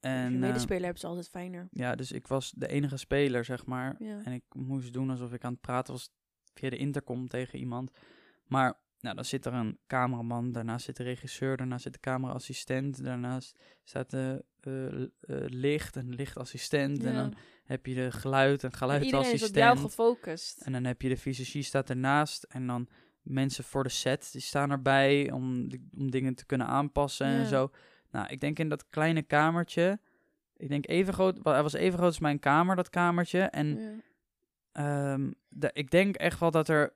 Speaker 1: eh,
Speaker 2: medespeler hebben ze altijd fijner.
Speaker 1: ja, dus ik was de enige speler, zeg maar.
Speaker 2: Ja.
Speaker 1: En ik moest doen alsof ik aan het praten was via de intercom tegen iemand. Maar nou, dan zit er een cameraman, daarnaast zit de regisseur, daarnaast zit de cameraassistent, daarnaast staat de eh, eh, licht en lichtassistent. En dan heb je de geluid en
Speaker 2: Iedereen is op
Speaker 1: eh, geluidassistent.
Speaker 2: jou gefocust.
Speaker 1: en dan heb je de fysici staat ernaast en dan mensen voor de set die staan erbij om, die- om dingen te kunnen aanpassen
Speaker 2: Ja.
Speaker 1: en zo. Nou, ik denk in dat kleine kamertje, ik denk even groot, wa- hij was even groot als mijn kamer, dat kamertje. En
Speaker 2: Ja.
Speaker 1: Ehm, da- ik denk echt wel dat er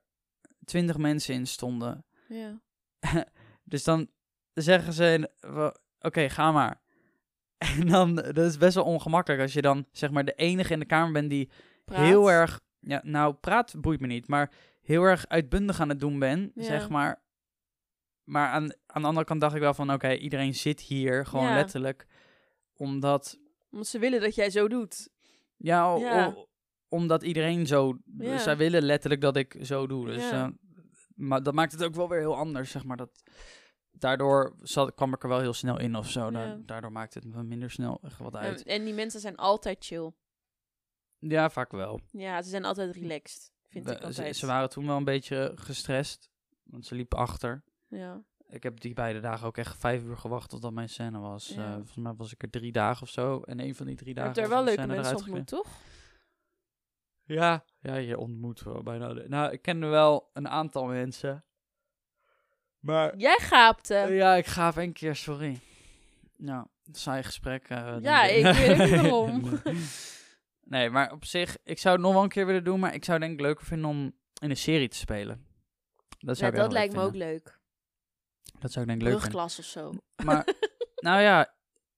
Speaker 1: twintig mensen in stonden.
Speaker 2: Ja.
Speaker 1: Dus dan zeggen ze, in- wa- oké, ga maar. En dan, dat is best wel ongemakkelijk als je dan zeg maar de enige in de kamer bent die
Speaker 2: Praat.
Speaker 1: heel erg, ja, nou praat boeit me niet, maar heel erg uitbundig aan het doen ben,
Speaker 2: Ja.
Speaker 1: zeg maar. Maar aan, aan de andere kant dacht ik wel van, oké, iedereen zit hier, gewoon
Speaker 2: Ja.
Speaker 1: letterlijk, omdat,
Speaker 2: Want ze willen dat jij zo doet.
Speaker 1: ja, o-
Speaker 2: Ja.
Speaker 1: o- omdat iedereen zo,
Speaker 2: Ja.
Speaker 1: zij willen letterlijk dat ik zo doe, dus
Speaker 2: Ja.
Speaker 1: eh, maar dat maakt het ook wel weer heel anders, zeg maar, dat... Daardoor zat, kwam ik er wel heel snel in of zo. Da-
Speaker 2: Ja.
Speaker 1: Daardoor maakt het me minder snel echt wat
Speaker 2: En,
Speaker 1: uit.
Speaker 2: en die mensen zijn altijd chill.
Speaker 1: Ja, vaak wel.
Speaker 2: Ja, ze zijn altijd relaxed. Vind
Speaker 1: We-
Speaker 2: ik
Speaker 1: ze-
Speaker 2: altijd.
Speaker 1: ze waren toen wel een beetje gestrest, want ze liepen achter.
Speaker 2: Ja.
Speaker 1: Ik heb die beide dagen ook echt vijf uur gewacht totdat mijn scène was.
Speaker 2: Ja.
Speaker 1: Eh, volgens mij was ik er drie dagen of zo. En een van die drie
Speaker 2: Je
Speaker 1: dagen
Speaker 2: hebt er
Speaker 1: was
Speaker 2: wel
Speaker 1: mijn
Speaker 2: leuke
Speaker 1: scène
Speaker 2: mensen
Speaker 1: eruit
Speaker 2: ontmoet, toch?
Speaker 1: gekregen. Ja, ja, je ontmoet wel bijna. de- Nou, ik kende wel een aantal mensen. Maar... eh,
Speaker 2: Jij eh, gaapte.
Speaker 1: Ja, ik ga even één keer, sorry. Nou, saai gesprek. eh, dan
Speaker 2: Ja,
Speaker 1: weer.
Speaker 2: ik weet ook niet waarom.
Speaker 1: Nee. nee, maar op zich, ik zou het nog wel een keer willen doen. Maar ik zou het denk ik leuker vinden om in een serie te spelen. Dat, zou
Speaker 2: Ja,
Speaker 1: ik echt wel
Speaker 2: dat lijkt me
Speaker 1: leuk
Speaker 2: ook leuk.
Speaker 1: vinden. Dat zou ik denk ik leuk vinden.
Speaker 2: Brugklas of zo.
Speaker 1: Maar, nou ja,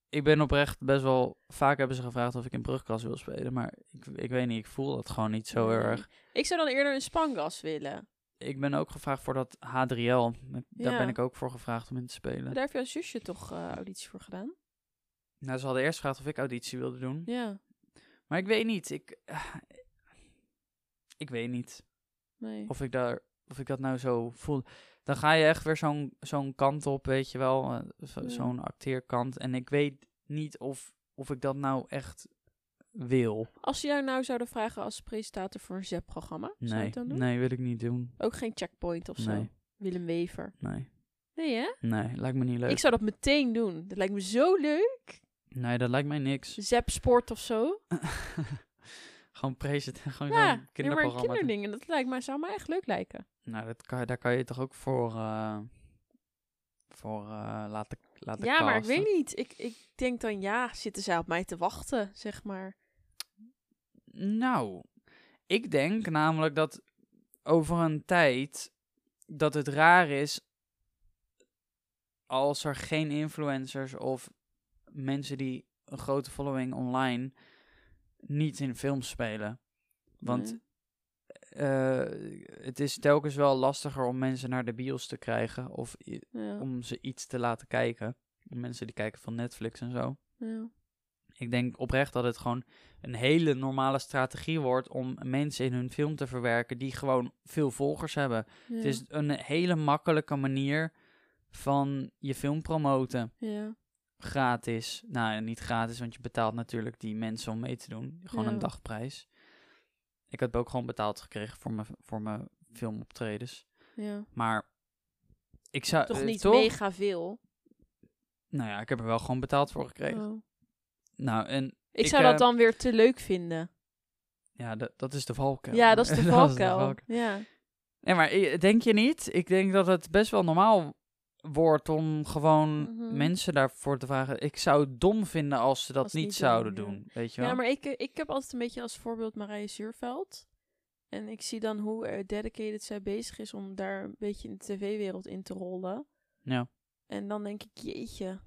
Speaker 1: ik ben oprecht best wel... Vaak hebben ze gevraagd of ik in brugklas wil spelen. Maar ik, ik weet niet, ik voel dat gewoon niet zo
Speaker 2: Nee.
Speaker 1: erg.
Speaker 2: Ik zou dan eerder een spangas willen.
Speaker 1: Ik ben ook gevraagd voor dat H3L. Daar
Speaker 2: Ja.
Speaker 1: ben ik ook voor gevraagd om in te spelen.
Speaker 2: Maar daar heb jouw zusje toch eh, auditie voor gedaan?
Speaker 1: Nou, ze hadden eerst gevraagd of ik auditie wilde doen.
Speaker 2: Ja.
Speaker 1: Maar ik weet niet. Ik, eh, ik weet niet
Speaker 2: Nee.
Speaker 1: of ik, daar, of ik dat nou zo voel. Dan ga je echt weer zo'n zo'n kant op, weet je wel. eh, zo-
Speaker 2: Ja.
Speaker 1: Zo'n acteerkant. En ik weet niet of, of ik dat nou echt wil.
Speaker 2: Als ze jou nou zouden vragen als presentator voor een ZEP-programma, zou je
Speaker 1: Nee,
Speaker 2: het dan doen?
Speaker 1: nee, wil ik niet doen.
Speaker 2: Ook geen checkpoint of zo?
Speaker 1: Nee,
Speaker 2: Willem Wever.
Speaker 1: nee,
Speaker 2: Nee, hè?
Speaker 1: nee, lijkt me niet leuk.
Speaker 2: Ik zou dat meteen doen. Dat lijkt me zo leuk.
Speaker 1: Nee, dat lijkt mij niks.
Speaker 2: Zep Sport of zo.
Speaker 1: gewoon present, gewoon
Speaker 2: Ja,
Speaker 1: zo'n
Speaker 2: nee, maar
Speaker 1: kinderprogramma. doen.
Speaker 2: kinderdingen. Dat lijkt mij, zou mij echt leuk lijken.
Speaker 1: nou, dat kan, daar kan je toch ook voor, eh, voor eh, laten, laten
Speaker 2: ja, maar ik
Speaker 1: casten?
Speaker 2: weet niet. Ik, ik denk dan, ja, zitten zij op mij te wachten, zeg maar.
Speaker 1: Nou, ik denk namelijk dat over een tijd dat het raar is als er geen influencers of mensen die een grote following online niet in films spelen. Want
Speaker 2: Nee. Mhm.
Speaker 1: eh, het is telkens wel lastiger om mensen naar de bios te krijgen of i-
Speaker 2: Ja,
Speaker 1: om ze iets te laten kijken. Mensen die kijken van Netflix en zo.
Speaker 2: ja.
Speaker 1: Ik denk oprecht dat het gewoon een hele normale strategie wordt om mensen in hun film te verwerken die gewoon veel volgers hebben.
Speaker 2: ja,
Speaker 1: Het is een hele makkelijke manier van je film promoten.
Speaker 2: ja.
Speaker 1: Gratis. Nou, ja, niet gratis, want je betaalt natuurlijk die mensen om mee te doen. Gewoon
Speaker 2: Ja.
Speaker 1: een dagprijs. Ik had ook gewoon betaald gekregen voor mijn, voor mijn filmoptredens.
Speaker 2: ja.
Speaker 1: Maar ik zou...
Speaker 2: Toch
Speaker 1: eh,
Speaker 2: niet mega veel.
Speaker 1: Nou ja, ik heb er wel gewoon betaald voor gekregen.
Speaker 2: Oh.
Speaker 1: Nou, en
Speaker 2: Ik,
Speaker 1: Ik,
Speaker 2: zou
Speaker 1: eh,
Speaker 2: dat dan weer te leuk vinden.
Speaker 1: ja, dat, dat is de valkuil.
Speaker 2: Ja, dat is de valkuil.
Speaker 1: valkuil.
Speaker 2: Ja.
Speaker 1: Nee, maar i- denk je niet? Ik denk dat het best wel normaal wordt om gewoon
Speaker 2: Mhm.
Speaker 1: mensen daarvoor te vragen. Ik zou het dom vinden als ze dat
Speaker 2: Als ze
Speaker 1: niet,
Speaker 2: niet doen,
Speaker 1: zouden
Speaker 2: ja.
Speaker 1: doen, weet je wel?
Speaker 2: ja, maar ik, eh, ik heb altijd een beetje als voorbeeld Marije Zuurveld. En ik zie dan hoe eh, dedicated zij bezig is om daar een beetje in de tv-wereld in te rollen.
Speaker 1: Ja.
Speaker 2: En dan denk ik, jeetje.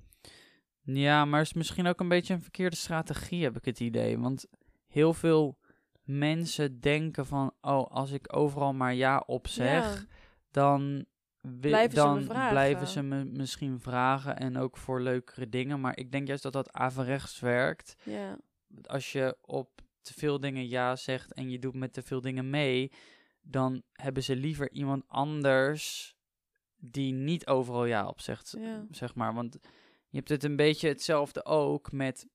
Speaker 1: Ja, maar het is misschien ook een beetje een verkeerde strategie, heb ik het idee. Want heel veel mensen denken van, oh, als ik overal maar ja op zeg,
Speaker 2: Ja.
Speaker 1: dan, wi-
Speaker 2: Blijven ze me
Speaker 1: dan
Speaker 2: vragen.
Speaker 1: blijven ze me misschien vragen en ook voor leukere dingen. Maar ik denk juist dat dat averechts werkt.
Speaker 2: Ja.
Speaker 1: als je op te veel dingen ja zegt en je doet met te veel dingen mee, dan hebben ze liever iemand anders die niet overal ja op zegt,
Speaker 2: Ja.
Speaker 1: zeg maar. Want je hebt het een beetje hetzelfde ook met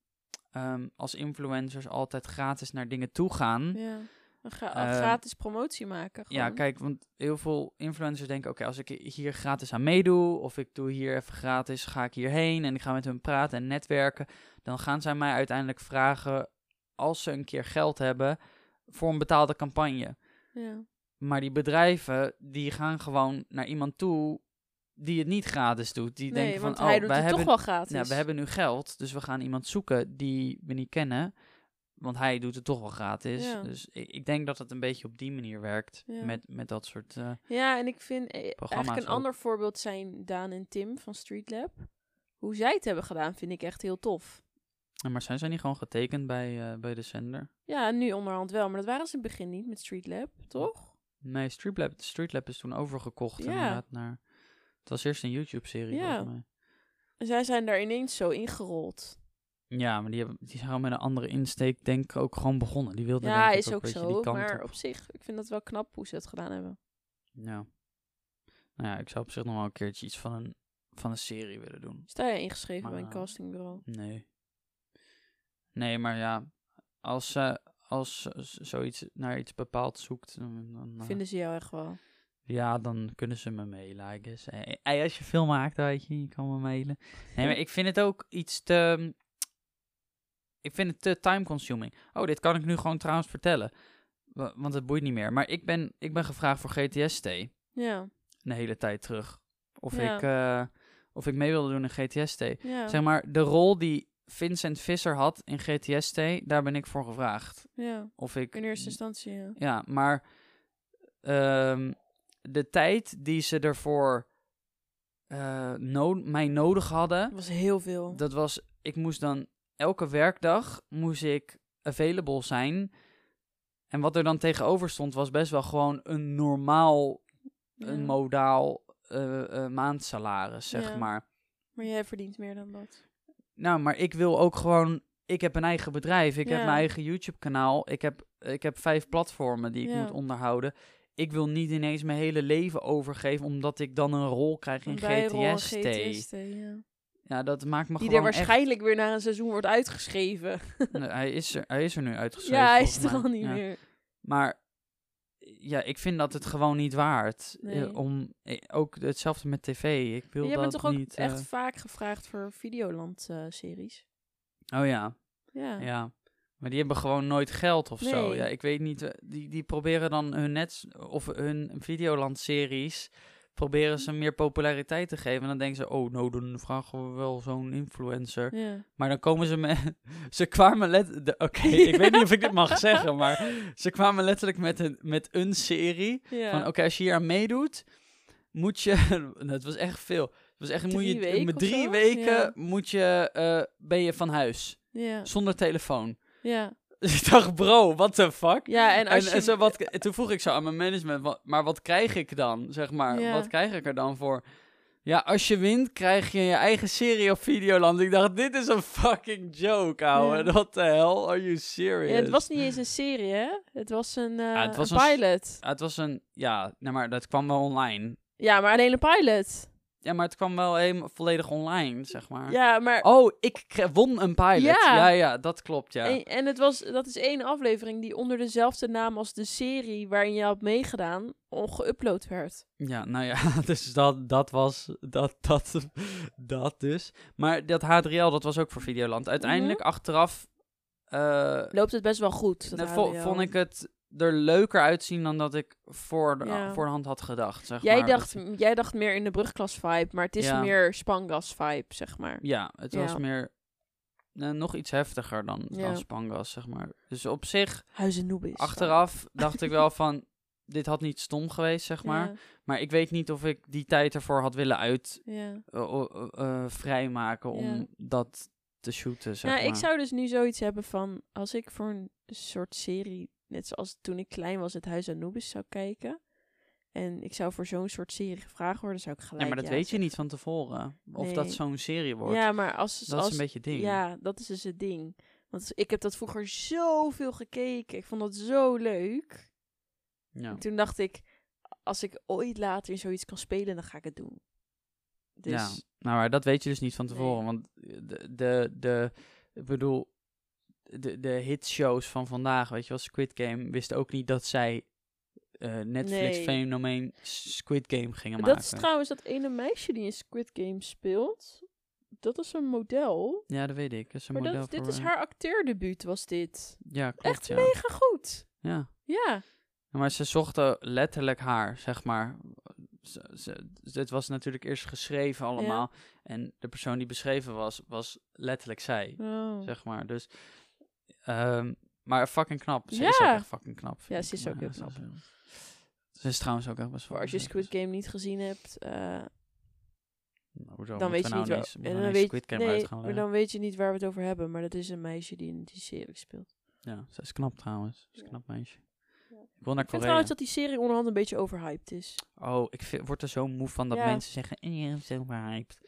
Speaker 1: ehm, als influencers altijd gratis naar dingen toe gaan.
Speaker 2: Ja. Een gra-
Speaker 1: Eh,
Speaker 2: gratis promotie maken.
Speaker 1: Mm. Ja,
Speaker 2: gewoon.
Speaker 1: kijk, want heel veel influencers denken: oké, als ik hier gratis aan meedoe, of ik doe hier even gratis, ga ik hierheen en ik ga met hun praten en netwerken, dan gaan zij mij uiteindelijk vragen als ze een keer geld hebben voor een betaalde campagne.
Speaker 2: Ja.
Speaker 1: Maar die bedrijven die gaan gewoon naar iemand toe die het niet gratis doet. Die
Speaker 2: Nee,
Speaker 1: denken van:
Speaker 2: want
Speaker 1: oh,
Speaker 2: hij doet
Speaker 1: wij
Speaker 2: het
Speaker 1: hebben,
Speaker 2: toch wel gratis.
Speaker 1: nou, we hebben nu geld, dus we gaan iemand zoeken die we niet kennen. Want hij doet het toch wel gratis.
Speaker 2: Ja.
Speaker 1: Dus ik, ik denk dat het een beetje op die manier werkt.
Speaker 2: Ja.
Speaker 1: Met, met dat soort. eh,
Speaker 2: Ja, en ik vind eh, eigenlijk
Speaker 1: Programma's
Speaker 2: een
Speaker 1: ook.
Speaker 2: ander voorbeeld zijn Daan en Tim van Street Lab. Hoe zij het hebben gedaan vind ik echt heel tof.
Speaker 1: ja, nou, maar zijn zij niet gewoon getekend bij, eh, bij de zender?
Speaker 2: Ja, nu onderhand wel, maar dat waren ze in het begin niet met Street Lab, toch?
Speaker 1: Nee, Streetlab, Streetlab is toen overgekocht.
Speaker 2: Ja.
Speaker 1: Inderdaad naar, het was eerst een YouTube-serie.
Speaker 2: Ja.
Speaker 1: volgens mij.
Speaker 2: En zij zijn daar ineens zo ingerold.
Speaker 1: Ja, maar die, hebben, die zijn gewoon met een andere insteek, denk ik, ook gewoon begonnen. Die wilden
Speaker 2: ja,
Speaker 1: denk ik
Speaker 2: is ook
Speaker 1: een beetje
Speaker 2: zo,
Speaker 1: die kant
Speaker 2: maar
Speaker 1: op.
Speaker 2: op zich, ik vind dat wel knap hoe ze het gedaan hebben.
Speaker 1: Ja. Nou ja, ik zou op zich nog wel een keertje iets van een, van een serie willen doen.
Speaker 2: Sta je ingeschreven bij een
Speaker 1: Maar-
Speaker 2: castingbureau?
Speaker 1: Nee. Nee, maar ja, als, ze als ze z- zoiets naar iets bepaald zoekt, dan, dan, eh,
Speaker 2: Vinden ze jou echt wel?
Speaker 1: Ja, dan kunnen ze me mailen, I guess. Eh, eh, als je film maakt, weet je, je kan me mailen. Nee, maar ik vind het ook iets te... mm, Ik vind het te time-consuming. Oh, dit kan ik nu gewoon trouwens vertellen. Wa- Want het boeit niet meer. Maar ik ben, ik ben gevraagd voor GTS-T
Speaker 2: Ja,
Speaker 1: een hele tijd terug. Of,
Speaker 2: Ja.
Speaker 1: ik, eh, of ik mee wilde doen in GTS-T.
Speaker 2: ja,
Speaker 1: Zeg maar, de rol die Vincent Visser had in GTS-T, daar ben ik voor gevraagd.
Speaker 2: ja.
Speaker 1: Of ik
Speaker 2: In eerste instantie, ja.
Speaker 1: ja, maar ehm, de tijd die ze ervoor eh, no- mij nodig
Speaker 2: Dat
Speaker 1: hadden,
Speaker 2: was heel veel.
Speaker 1: dat was, ik moest dan elke werkdag moest ik available zijn. En wat er dan tegenover stond, was best wel gewoon een normaal,
Speaker 2: Ja.
Speaker 1: een modaal eh, eh, maandsalaris, zeg
Speaker 2: Ja.
Speaker 1: maar.
Speaker 2: Maar jij verdient meer dan dat.
Speaker 1: Nou, maar ik wil ook gewoon. Ik heb een eigen bedrijf. Ik
Speaker 2: Ja.
Speaker 1: heb mijn eigen YouTube-kanaal. Ik heb, ik heb vijf platformen die ik
Speaker 2: Ja.
Speaker 1: moet onderhouden. Ik wil niet ineens mijn hele leven overgeven omdat ik dan een rol krijg in
Speaker 2: Een bijrol en
Speaker 1: GTS-T.
Speaker 2: GTS-T, ja.
Speaker 1: Ja, dat maakt me
Speaker 2: Die er
Speaker 1: gewoon echt...
Speaker 2: waarschijnlijk weer naar een seizoen wordt uitgeschreven.
Speaker 1: Nee, hij, is er, hij is er nu uitgeschreven.
Speaker 2: ja, hij
Speaker 1: volgens
Speaker 2: is er
Speaker 1: mij.
Speaker 2: al niet
Speaker 1: Ja.
Speaker 2: meer.
Speaker 1: Maar ja, ik vind dat het gewoon niet waard. eh,
Speaker 2: Nee.
Speaker 1: om, eh, ook hetzelfde met tv. Ik wil
Speaker 2: Jij bent
Speaker 1: dat
Speaker 2: toch ook
Speaker 1: niet... eh,
Speaker 2: echt vaak gevraagd voor Videoland-series?
Speaker 1: Oh ja.
Speaker 2: ja.
Speaker 1: Ja, maar die hebben gewoon nooit geld of zo.
Speaker 2: Nee.
Speaker 1: Ja, ik weet niet. eh, Die, die proberen dan hun net of hun Videoland-series proberen ze meer populariteit te geven. En dan denken ze, oh, nou, dan vragen we wel zo'n influencer.
Speaker 2: ja.
Speaker 1: Maar dan komen ze met... Ze kwamen letterlijk... Oké, ik weet niet of ik dit mag zeggen, maar... Ze kwamen letterlijk met een, met een serie.
Speaker 2: Ja.
Speaker 1: Van, oké, als je hier aan meedoet, moet je... nou, het was echt veel. Het was echt... moet
Speaker 2: Drie
Speaker 1: je,
Speaker 2: weken
Speaker 1: met
Speaker 2: of
Speaker 1: drie
Speaker 2: zo?
Speaker 1: weken
Speaker 2: Ja.
Speaker 1: moet je, eh, ben je van huis.
Speaker 2: ja.
Speaker 1: Zonder telefoon.
Speaker 2: Ja.
Speaker 1: Dus ik dacht, bro, what the fuck?
Speaker 2: ja, en
Speaker 1: En,
Speaker 2: als je...
Speaker 1: en zo wat, en toen vroeg ik zo aan mijn management, wa- maar wat krijg ik dan? Zeg maar,
Speaker 2: Ja.
Speaker 1: wat krijg ik er dan voor? Ja, als je wint, krijg je je eigen serie op Videoland. Ik dacht, dit is een fucking joke, ouwe.
Speaker 2: Ja.
Speaker 1: What the hell are you serious?
Speaker 2: Ja, het was niet eens een serie, hè? Het was een, eh,
Speaker 1: het was
Speaker 2: een
Speaker 1: een s-
Speaker 2: pilot.
Speaker 1: Ja, het was een... Ja, nee, maar dat kwam wel online.
Speaker 2: Ja, maar een hele pilot.
Speaker 1: Ja, maar het kwam wel helemaal volledig online, zeg maar.
Speaker 2: Ja, maar...
Speaker 1: Oh, ik kre- won een pilot.
Speaker 2: Ja.
Speaker 1: Ja, ja, dat klopt, ja.
Speaker 2: En, en het was, dat is één aflevering die onder dezelfde naam als de serie waarin je had meegedaan, ongeüpload werd.
Speaker 1: Ja, nou ja, dus dat, dat was dat, dat, dat dus. Maar dat H3L, dat was ook voor Videoland. Uiteindelijk,
Speaker 2: Mhm.
Speaker 1: achteraf, eh,
Speaker 2: Loopt het best wel goed. dat
Speaker 1: nou, vo-
Speaker 2: ADL.
Speaker 1: vond ik het er leuker uitzien dan dat ik voor de,
Speaker 2: Ja.
Speaker 1: voor de hand had gedacht. Zeg
Speaker 2: Jij
Speaker 1: maar.
Speaker 2: dacht,
Speaker 1: Dat-
Speaker 2: jij dacht meer in de brugklas vibe, maar het is
Speaker 1: Ja.
Speaker 2: meer Spangas vibe, zeg maar.
Speaker 1: ja, het was
Speaker 2: Ja.
Speaker 1: meer, eh, nog iets heftiger dan,
Speaker 2: Ja.
Speaker 1: dan Spangas, zeg maar. Dus op zich,
Speaker 2: Huizen Noobis.
Speaker 1: achteraf dacht ik wel van, dit had niet stom geweest, zeg maar. Maar ik weet niet of ik die tijd ervoor had willen uit,
Speaker 2: Ja. ja.
Speaker 1: eh, o- o- eh, vrijmaken om
Speaker 2: Ja.
Speaker 1: dat te shooten, zeg
Speaker 2: nou,
Speaker 1: maar.
Speaker 2: ik zou dus nu zoiets hebben van, als ik voor een soort serie, net zoals toen ik klein was, het Huis Anubis zou kijken, en ik zou voor zo'n soort serie gevraagd worden, zou ik gelijk
Speaker 1: nee, maar dat
Speaker 2: ja
Speaker 1: weet je
Speaker 2: zeggen.
Speaker 1: niet van tevoren. Of dat
Speaker 2: Nee.
Speaker 1: zo'n serie wordt.
Speaker 2: Ja, maar als...
Speaker 1: dat
Speaker 2: als
Speaker 1: is een beetje het ding.
Speaker 2: Ja, dat is dus het ding. Want ik heb dat vroeger zoveel gekeken. Ik vond dat zo leuk.
Speaker 1: Ja.
Speaker 2: En toen dacht ik, als ik ooit later in zoiets kan spelen, dan ga ik het doen. Dus
Speaker 1: Ja. Nou, maar dat weet je dus niet van tevoren.
Speaker 2: Nee.
Speaker 1: Want de, de, de, ik bedoel, de, de hitshows van vandaag, weet je wel, Squid Game, wist ook niet dat zij eh, Netflix-fenomeen Squid Game gingen maken.
Speaker 2: dat is trouwens dat ene meisje die in Squid Game speelt. Dat is een model.
Speaker 1: Ja, dat weet ik. Dat is een
Speaker 2: maar
Speaker 1: model
Speaker 2: dat, dit
Speaker 1: voor,
Speaker 2: is
Speaker 1: eh,
Speaker 2: haar acteerdebuut, was dit.
Speaker 1: Ja, klopt,
Speaker 2: Echt
Speaker 1: ja.
Speaker 2: mega goed.
Speaker 1: Ja.
Speaker 2: Ja.
Speaker 1: Ja, Maar ze zochten letterlijk haar, zeg maar. Ze, ze- dit was natuurlijk eerst geschreven allemaal. En de persoon die beschreven was, was letterlijk zij,
Speaker 2: Oh.
Speaker 1: zeg maar. Dus, ehm, maar fucking knap. Ze is ook
Speaker 2: Ja.
Speaker 1: echt fucking knap. vind
Speaker 2: Ja,
Speaker 1: ik.
Speaker 2: ze is ook
Speaker 1: Maar
Speaker 2: heel
Speaker 1: ze
Speaker 2: knap.
Speaker 1: heel- Ze is trouwens ook echt best
Speaker 2: Voor
Speaker 1: wel...
Speaker 2: als je Squid Game niet gezien hebt,
Speaker 1: Oh,
Speaker 2: eh,
Speaker 1: Nou,
Speaker 2: dan weet je niet waar.
Speaker 1: wel.
Speaker 2: en dan weet,
Speaker 1: Squid Game
Speaker 2: nee,
Speaker 1: uit gaan
Speaker 2: maar
Speaker 1: leggen.
Speaker 2: dan weet je niet waar we het over hebben. Maar dat is een meisje die in die serie speelt.
Speaker 1: Ja, ze is knap trouwens. Ze is een
Speaker 2: Ja.
Speaker 1: knap meisje.
Speaker 2: Ja.
Speaker 1: Ik wil naar
Speaker 2: Ik vind
Speaker 1: Korea.
Speaker 2: trouwens dat die serie onderhand een beetje overhyped is.
Speaker 1: Oh, ik vind- word er zo moe van dat
Speaker 2: Ja.
Speaker 1: mensen zeggen... "Eh, je bent zo overhyped."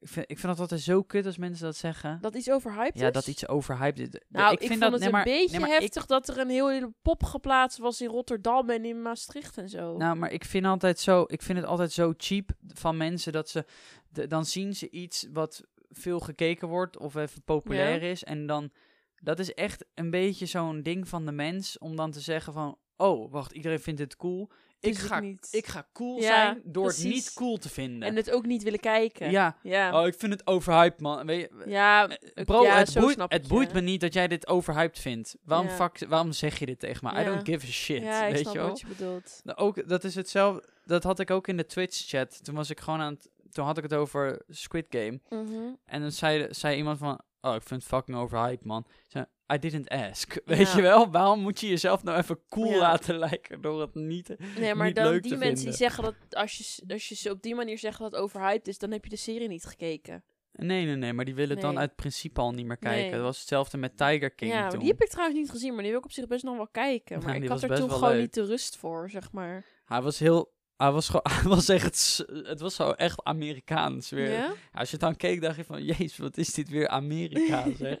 Speaker 1: Ik vind, ik vind dat altijd zo kut als mensen dat zeggen.
Speaker 2: Dat iets overhyped
Speaker 1: ja,
Speaker 2: is?
Speaker 1: dat iets overhyped is. De-
Speaker 2: Nou, ik,
Speaker 1: vind
Speaker 2: vond
Speaker 1: dat,
Speaker 2: het
Speaker 1: nee,
Speaker 2: een
Speaker 1: maar-
Speaker 2: beetje
Speaker 1: nee, maar
Speaker 2: heftig dat er een hele pop geplaatst was in Rotterdam en in Maastricht en zo.
Speaker 1: Ik, nou, maar ik vind, altijd zo, ik vind het altijd zo cheap van mensen dat ze... de- dan zien ze iets wat veel gekeken wordt of even populair is. En dan... Dat is echt een beetje zo'n ding van de mens om dan te zeggen van... Oh, wacht, iedereen vindt het cool. Ik
Speaker 2: Dus ik
Speaker 1: ga,
Speaker 2: niet.
Speaker 1: ik ga cool
Speaker 2: Ja,
Speaker 1: zijn door het
Speaker 2: precies.
Speaker 1: niet cool te vinden.
Speaker 2: en het ook niet willen kijken.
Speaker 1: ja,
Speaker 2: ja.
Speaker 1: Oh, ik vind het overhyped, man. Weet je,
Speaker 2: Ja,
Speaker 1: eh,
Speaker 2: ik-
Speaker 1: bro,
Speaker 2: ja,
Speaker 1: het,
Speaker 2: zo
Speaker 1: boeit,
Speaker 2: snap
Speaker 1: het
Speaker 2: ik
Speaker 1: boeit
Speaker 2: je.
Speaker 1: me niet dat jij dit overhyped vindt. Waarom,
Speaker 2: Ja.
Speaker 1: fuck, waarom zeg je dit tegen me? I
Speaker 2: Ja.
Speaker 1: don't give a shit,
Speaker 2: ja, ik
Speaker 1: weet
Speaker 2: snap
Speaker 1: je wel?
Speaker 2: wat je bedoelt.
Speaker 1: Nou, Ook, dat is hetzelfde, dat had ik ook in de Twitch-chat. Toen was ik gewoon aan het, toen had ik het over Squid Game.
Speaker 2: Mhm.
Speaker 1: En dan zei, zei iemand van, oh, ik vind het fucking overhyped, man. Ik zei, I didn't ask, weet
Speaker 2: Ja.
Speaker 1: je wel? Waarom moet je jezelf nou even cool
Speaker 2: Ja.
Speaker 1: laten lijken door het niet... te-
Speaker 2: Nee, maar
Speaker 1: niet
Speaker 2: dan die
Speaker 1: leuk
Speaker 2: mensen
Speaker 1: te
Speaker 2: die
Speaker 1: vinden.
Speaker 2: zeggen dat als je, s- als je ze op die manier zegt dat het overhyped is, dan heb je de serie niet gekeken.
Speaker 1: Nee, nee, nee, maar die willen het dan
Speaker 2: Nee.
Speaker 1: uit principe al niet meer kijken.
Speaker 2: Nee.
Speaker 1: Dat was hetzelfde met Tiger King
Speaker 2: ja,
Speaker 1: toen.
Speaker 2: die heb ik trouwens niet gezien, maar die wil ik op zich best nog wel kijken.
Speaker 1: Ja,
Speaker 2: Maar
Speaker 1: die
Speaker 2: ik had
Speaker 1: was
Speaker 2: er
Speaker 1: best
Speaker 2: toen
Speaker 1: wel
Speaker 2: gewoon
Speaker 1: leuk.
Speaker 2: niet de rust voor, zeg maar.
Speaker 1: Hij was heel. Hij was, gewoon, hij was echt. s- Het was zo echt Amerikaans weer.
Speaker 2: Ja?
Speaker 1: Als je het dan keek, dacht je van: Jezus, wat is dit weer Amerika? Zeg.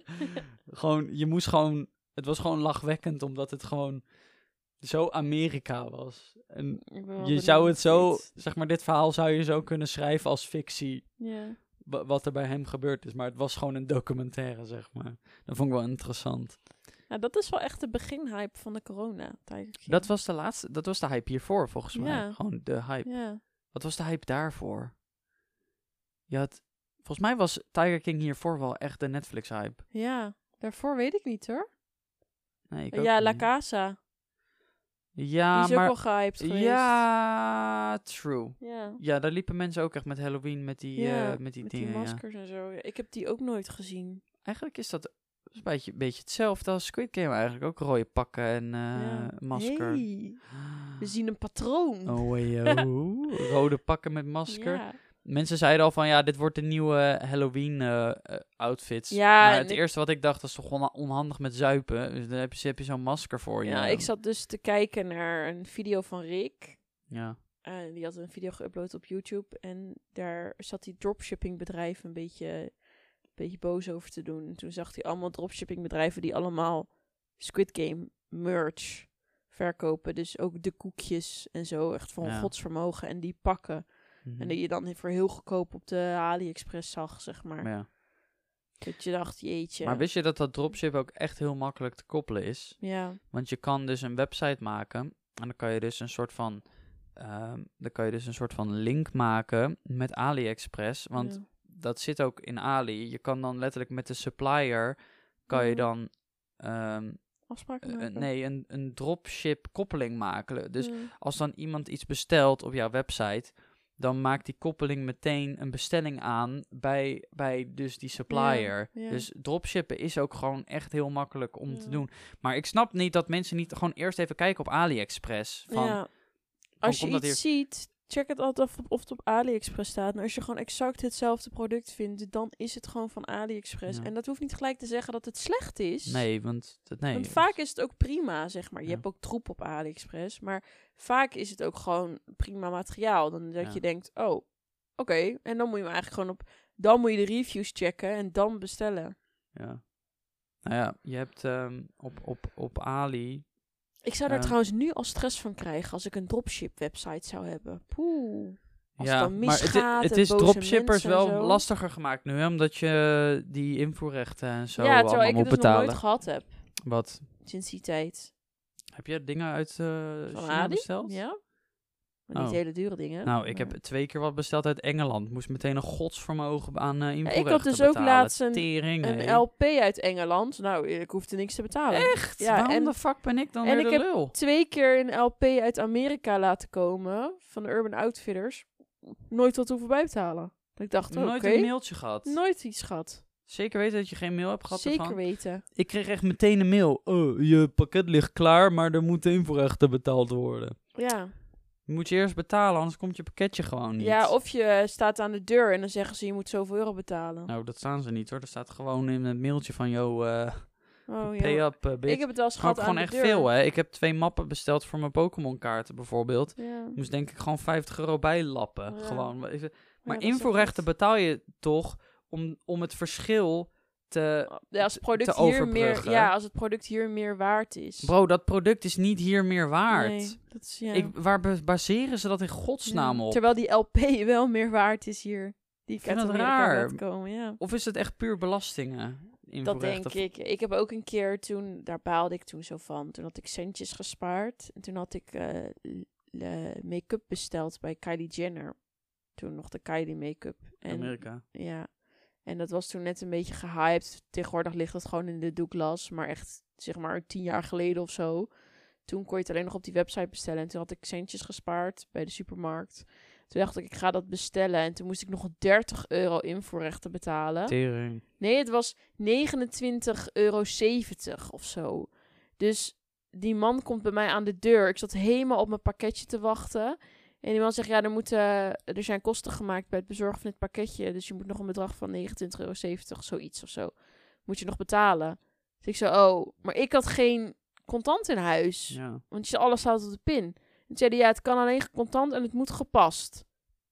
Speaker 1: gewoon, je moest gewoon. Het was gewoon lachwekkend, omdat het gewoon zo Amerika was. En
Speaker 2: Ik ben wel
Speaker 1: je
Speaker 2: benieuwd
Speaker 1: zou het zo.
Speaker 2: steeds.
Speaker 1: Zeg maar, dit verhaal zou je zo kunnen schrijven als fictie.
Speaker 2: Ja.
Speaker 1: wa- Wat er bij hem gebeurd is. Maar het was gewoon een documentaire, zeg maar. Dat vond ik wel interessant.
Speaker 2: Nou, dat is wel echt de beginhype van de corona. Tiger King.
Speaker 1: Dat was de laatste. Dat was de hype hiervoor, volgens mij.
Speaker 2: Ja.
Speaker 1: Gewoon de hype.
Speaker 2: Ja.
Speaker 1: Wat was de hype daarvoor? Je had, volgens mij was Tiger King hiervoor wel echt de Netflix-hype.
Speaker 2: ja, daarvoor weet ik niet hoor.
Speaker 1: Nee, ik ook
Speaker 2: Ja,
Speaker 1: niet.
Speaker 2: La Casa. die
Speaker 1: Ja,
Speaker 2: is ook
Speaker 1: maar...
Speaker 2: wel gehyped geweest.
Speaker 1: Ja, true.
Speaker 2: Ja.
Speaker 1: Ja, daar liepen mensen ook echt met Halloween met die,
Speaker 2: Ja,
Speaker 1: eh, met die
Speaker 2: Met die
Speaker 1: dingen. ja.
Speaker 2: maskers en zo. Ja, ik heb die ook nooit gezien.
Speaker 1: Eigenlijk is dat een beetje, een beetje hetzelfde als Squid Game eigenlijk. Ook rode pakken en eh,
Speaker 2: Ja.
Speaker 1: masker.
Speaker 2: Hey, we zien een patroon.
Speaker 1: Oh, yo. rode pakken met masker.
Speaker 2: Ja.
Speaker 1: Mensen zeiden al van ja, dit wordt de nieuwe Halloween eh, eh, outfits.
Speaker 2: Ja,
Speaker 1: maar het
Speaker 2: en ik-
Speaker 1: eerste wat ik dacht was toch onha- onhandig met zuipen. Dus dan heb je, heb je zo'n masker voor je.
Speaker 2: Ja, ik zat dus te kijken naar een video van Rick.
Speaker 1: Ja.
Speaker 2: Eh, die had een video geüpload op YouTube. En daar zat die dropshippingbedrijf een beetje, een beetje boos over te doen. En toen zag hij allemaal dropshippingbedrijven die allemaal Squid Game merch verkopen. Dus ook de koekjes en zo. Echt van
Speaker 1: Ja.
Speaker 2: godsvermogen. En die pakken.
Speaker 1: Mhm.
Speaker 2: En die je dan voor heel goedkoop op de AliExpress zag, zeg maar.
Speaker 1: ja.
Speaker 2: Dat je dacht, jeetje.
Speaker 1: Maar wist je dat dat dropship ook echt heel makkelijk te koppelen is?
Speaker 2: Ja,
Speaker 1: Want je kan dus een website maken en dan kan je dus een soort van, ehm, dan kan je dus een soort van link maken met AliExpress. Want
Speaker 2: ja.
Speaker 1: dat zit ook in Ali. Je kan dan letterlijk met de supplier kan je
Speaker 2: Ja.
Speaker 1: dan ehm,
Speaker 2: afspraken
Speaker 1: eh,
Speaker 2: maken.
Speaker 1: nee, een, een dropship koppeling maken. Dus
Speaker 2: Ja.
Speaker 1: als dan iemand iets bestelt op jouw website, dan maakt die koppeling meteen een bestelling aan bij, bij dus die supplier.
Speaker 2: ja.
Speaker 1: Dus dropshippen is ook gewoon echt heel makkelijk om te
Speaker 2: Ja.
Speaker 1: doen. Maar ik snap niet dat mensen niet gewoon eerst even kijken op AliExpress. Van,
Speaker 2: ja. Als je
Speaker 1: komt dat
Speaker 2: iets ziet, check het altijd af of het op AliExpress staat. En als je gewoon exact hetzelfde product vindt, dan is het gewoon van AliExpress.
Speaker 1: Ja.
Speaker 2: En dat hoeft niet gelijk te zeggen dat het slecht is.
Speaker 1: Nee, want... dat- Nee,
Speaker 2: Want vaak is het ook prima, zeg maar. Je
Speaker 1: Ja.
Speaker 2: hebt ook troep op AliExpress. Maar vaak is het ook gewoon prima materiaal. Dan dat
Speaker 1: Ja.
Speaker 2: je denkt, oh, oké. En dan moet je hem eigenlijk gewoon op... Dan moet je de reviews checken en dan bestellen.
Speaker 1: Ja. Nou ja, je hebt ehm, op, op, op Ali
Speaker 2: Ik zou daar
Speaker 1: Ehm.
Speaker 2: trouwens nu al stress van krijgen als ik een dropship website zou hebben. Poeh. Als
Speaker 1: ja,
Speaker 2: het dan
Speaker 1: maar het,
Speaker 2: misgaat
Speaker 1: i- het
Speaker 2: en
Speaker 1: is
Speaker 2: boze
Speaker 1: dropshippers
Speaker 2: mensen en
Speaker 1: wel
Speaker 2: zo.
Speaker 1: lastiger gemaakt nu, hè, omdat je die invoerrechten en zo
Speaker 2: ja, terwijl
Speaker 1: allemaal
Speaker 2: ik
Speaker 1: moet
Speaker 2: het dus nog
Speaker 1: betalen.
Speaker 2: nooit gehad heb
Speaker 1: Wat?
Speaker 2: sinds die tijd.
Speaker 1: Heb je dingen uit eh
Speaker 2: Van
Speaker 1: China
Speaker 2: Adi?
Speaker 1: besteld?
Speaker 2: Ja. Maar
Speaker 1: Oh.
Speaker 2: Niet hele dure dingen.
Speaker 1: Nou, ik
Speaker 2: maar-
Speaker 1: heb twee keer wat besteld uit Engeland. Moest meteen een godsvermogen aan eh invoerrechten
Speaker 2: ik had dus ook
Speaker 1: betalen.
Speaker 2: laatst een-
Speaker 1: Tering, hé.
Speaker 2: Een LP uit Engeland. Nou, ik hoefde niks te betalen.
Speaker 1: Echt?
Speaker 2: Ja,
Speaker 1: Waarom
Speaker 2: en-
Speaker 1: de fuck ben ik dan
Speaker 2: en
Speaker 1: weer
Speaker 2: ik
Speaker 1: de
Speaker 2: heb-
Speaker 1: lul?
Speaker 2: Twee keer een LP uit Amerika laten komen van de Urban Outfitters. Nooit wat hoeven bij te halen. Dat ik dacht, oké,
Speaker 1: Nooit een mailtje gehad.
Speaker 2: nooit iets gehad.
Speaker 1: Zeker weten dat je geen mail hebt gehad
Speaker 2: Zeker
Speaker 1: ervan?
Speaker 2: weten.
Speaker 1: Ik kreeg echt meteen een mail. Oh, je pakket ligt klaar, maar er moeten invoerrechten betaald worden.
Speaker 2: Ja.
Speaker 1: Je moet je eerst betalen, anders komt je pakketje gewoon niet.
Speaker 2: ja, of je staat aan de deur en dan zeggen ze je moet zoveel euro betalen.
Speaker 1: Nou, dat staan ze niet hoor. Er staat gewoon in het mailtje van, yo, eh
Speaker 2: Oh,
Speaker 1: pay
Speaker 2: ja.
Speaker 1: up, eh, bitch.
Speaker 2: Ik heb het al eens
Speaker 1: Maar ook
Speaker 2: gehad aan
Speaker 1: gewoon
Speaker 2: de
Speaker 1: echt
Speaker 2: deur.
Speaker 1: veel, hè. Ik heb twee mappen besteld voor mijn Pokémon kaarten bijvoorbeeld.
Speaker 2: Ja.
Speaker 1: Moest denk ik gewoon 50 euro bijlappen.
Speaker 2: Ja.
Speaker 1: Gewoon. Maar ik zeg-
Speaker 2: Ja,
Speaker 1: Maar
Speaker 2: dat is
Speaker 1: invoerrechten
Speaker 2: echt-
Speaker 1: betaal je toch om, om het verschil te...
Speaker 2: ja, als het product
Speaker 1: Eh, te
Speaker 2: hier meer,
Speaker 1: overbruggen.
Speaker 2: Ja, als het product hier meer waard is.
Speaker 1: Bro, dat product is niet hier meer waard.
Speaker 2: Nee, dat is, ja.
Speaker 1: Ik, waar be- baseren ze dat in godsnaam
Speaker 2: Ja.
Speaker 1: op?
Speaker 2: Terwijl die LP wel meer waard is hier. Die ik
Speaker 1: vind
Speaker 2: uit
Speaker 1: dat
Speaker 2: Amerika
Speaker 1: raar.
Speaker 2: laat komen, ja.
Speaker 1: Of is het echt puur belastingen?
Speaker 2: Dat
Speaker 1: Invoerrechten?
Speaker 2: denk ik. Ik heb ook een keer toen, daar baalde ik toen zo van. Toen had ik centjes gespaard. En toen had ik eh, l- eh, make-up besteld bij Kylie Jenner. Toen nog de Kylie make-up. En,
Speaker 1: Amerika.
Speaker 2: ja. en dat was toen net een beetje gehyped. Tegenwoordig ligt dat gewoon in de Douglas. Maar echt, zeg maar, tien jaar geleden of zo. Toen kon je het alleen nog op die website bestellen. En toen had ik centjes gespaard bij de supermarkt. Toen dacht ik, ik ga dat bestellen. En toen moest ik nog 30 euro invoerrechten betalen.
Speaker 1: Tering.
Speaker 2: Nee, het was 29,70 euro of zo. Dus die man komt bij mij aan de deur. Ik zat helemaal op mijn pakketje te wachten. En die man zegt, ja, er, moeten, er zijn kosten gemaakt bij het bezorgen van dit pakketje. Dus je moet nog een bedrag van 29,70 euro, zoiets of zo. Moet je nog betalen. Dus ik zei, oh, maar ik had geen contant in huis.
Speaker 1: Ja.
Speaker 2: Want je, alles staat op de pin. En toen zei hij, ja, het kan alleen contant en het moet gepast.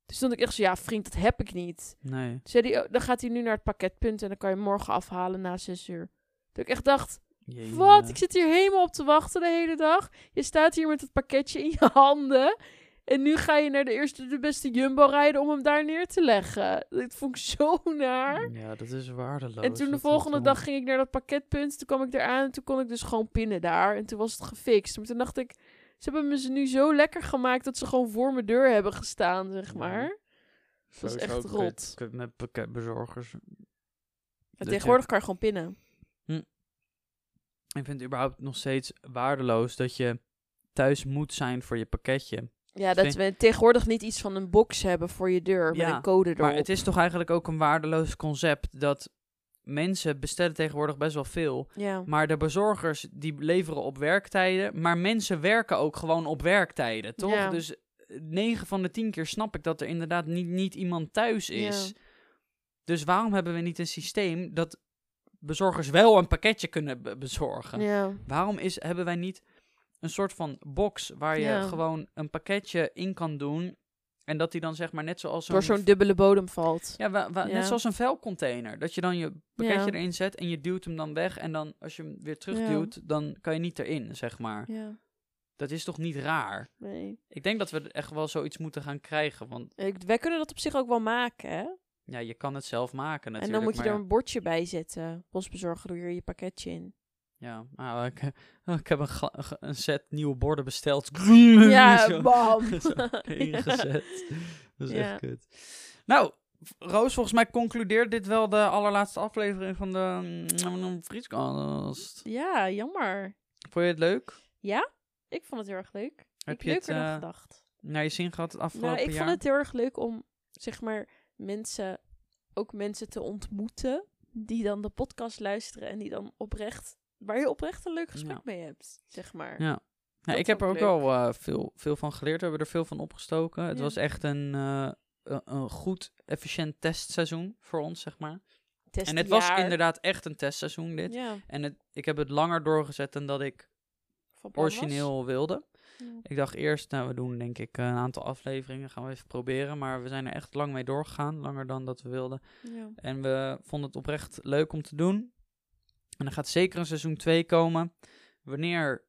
Speaker 2: Dus toen dacht ik echt zo, ja, vriend, dat heb ik niet.
Speaker 1: Nee.
Speaker 2: Zei die, oh, dan gaat hij nu naar het pakketpunt en dan kan je morgen afhalen na zes uur. Dat ik echt dacht,
Speaker 1: Jee,
Speaker 2: wat?
Speaker 1: eh,
Speaker 2: Ik zit hier helemaal op te wachten de hele dag. Je staat hier met het pakketje in je handen. En nu ga je naar de eerste de beste Jumbo rijden om hem daar neer te leggen. Dit vond ik zo naar.
Speaker 1: Ja, dat is waardeloos.
Speaker 2: En toen de
Speaker 1: Dat-
Speaker 2: volgende
Speaker 1: dat-
Speaker 2: dag ging ik naar dat pakketpunt. Toen kwam ik eraan en toen kon ik dus gewoon pinnen daar. En toen was het gefixt. Maar toen dacht ik, ze hebben me ze nu zo lekker gemaakt dat ze gewoon voor mijn deur hebben gestaan, zeg
Speaker 1: Ja.
Speaker 2: maar.
Speaker 1: Zo
Speaker 2: was
Speaker 1: is
Speaker 2: echt
Speaker 1: ook kut.
Speaker 2: rot.
Speaker 1: Kut met pakketbezorgers.
Speaker 2: En
Speaker 1: Dat je-
Speaker 2: tegenwoordig kan je gewoon pinnen.
Speaker 1: Ik vind het überhaupt nog steeds waardeloos dat je thuis moet zijn voor je pakketje.
Speaker 2: Ja,
Speaker 1: Dus
Speaker 2: dat we tegenwoordig niet iets van een box hebben voor je deur met
Speaker 1: Ja,
Speaker 2: een code erop.
Speaker 1: Maar het is toch eigenlijk ook een waardeloos concept dat mensen bestellen tegenwoordig best wel veel.
Speaker 2: ja.
Speaker 1: Maar de bezorgers die leveren op werktijden. Maar mensen werken ook gewoon op werktijden, toch?
Speaker 2: Ja.
Speaker 1: Dus 9 van de 10 keer snap ik dat er inderdaad niet, niet iemand thuis is.
Speaker 2: Ja.
Speaker 1: Dus waarom hebben we niet een systeem dat bezorgers wel een pakketje kunnen be- bezorgen?
Speaker 2: ja.
Speaker 1: Waarom is, hebben wij niet een soort van box waar je
Speaker 2: Ja.
Speaker 1: gewoon een pakketje in kan doen en dat die dan zeg maar net zoals
Speaker 2: Door zo'n dubbele bodem valt.
Speaker 1: ja, wa- wa-
Speaker 2: Ja.
Speaker 1: net zoals een vuilcontainer. Dat je dan je pakketje
Speaker 2: Ja.
Speaker 1: erin zet en je duwt hem dan weg en dan als je hem weer terugduwt, dan kan je niet erin, zeg maar.
Speaker 2: Ja,
Speaker 1: Dat is toch niet raar?
Speaker 2: nee.
Speaker 1: Ik denk dat we er echt wel zoiets moeten gaan krijgen, want
Speaker 2: Ik- wij kunnen dat op zich ook wel maken, hè?
Speaker 1: ja, je kan het zelf maken natuurlijk.
Speaker 2: en dan moet je
Speaker 1: maar
Speaker 2: er een bordje bij zetten. Postbezorger, doe hier je pakketje in.
Speaker 1: Ja, nou, ik, ik heb een, ga- een ge- een set nieuwe borden besteld.
Speaker 2: Ja,
Speaker 1: Zo.
Speaker 2: bam!
Speaker 1: Zo, ingezet. Dat is
Speaker 2: Ja.
Speaker 1: echt kut. Nou, Roos, volgens mij concludeert dit wel de allerlaatste aflevering van de mm, Vrieskast.
Speaker 2: ja, jammer.
Speaker 1: Vond je het leuk?
Speaker 2: Ja, ik vond het heel erg leuk.
Speaker 1: Heb
Speaker 2: ik
Speaker 1: je het,
Speaker 2: leuker dan
Speaker 1: eh,
Speaker 2: gedacht.
Speaker 1: Naar je zin gehad het afgelopen
Speaker 2: Nou, ik
Speaker 1: jaar?
Speaker 2: vond het heel erg leuk om, zeg maar, mensen, ook mensen te ontmoeten die dan de podcast luisteren en die dan oprecht, waar je oprecht een leuk gesprek
Speaker 1: Ja.
Speaker 2: mee hebt, zeg maar.
Speaker 1: Ja. Nou,
Speaker 2: dat
Speaker 1: ik heb er
Speaker 2: vond
Speaker 1: ook
Speaker 2: ik
Speaker 1: wel eh, veel, veel van geleerd. We hebben er veel van opgestoken. Het
Speaker 2: Ja.
Speaker 1: was echt een, eh, een- een goed, efficiënt testseizoen voor ons, zeg maar. En het was
Speaker 2: Testjaar.
Speaker 1: inderdaad echt een testseizoen, dit.
Speaker 2: ja,
Speaker 1: En het, ik heb het langer doorgezet dan dat ik
Speaker 2: van plan was.
Speaker 1: origineel wilde.
Speaker 2: Ja.
Speaker 1: Ik dacht eerst, nou, we doen denk ik een aantal afleveringen, gaan we even proberen. Maar we zijn er echt lang mee doorgegaan, langer dan dat we wilden.
Speaker 2: Ja.
Speaker 1: En we vonden het oprecht leuk om te doen. En er gaat zeker een seizoen 2 komen. Wanneer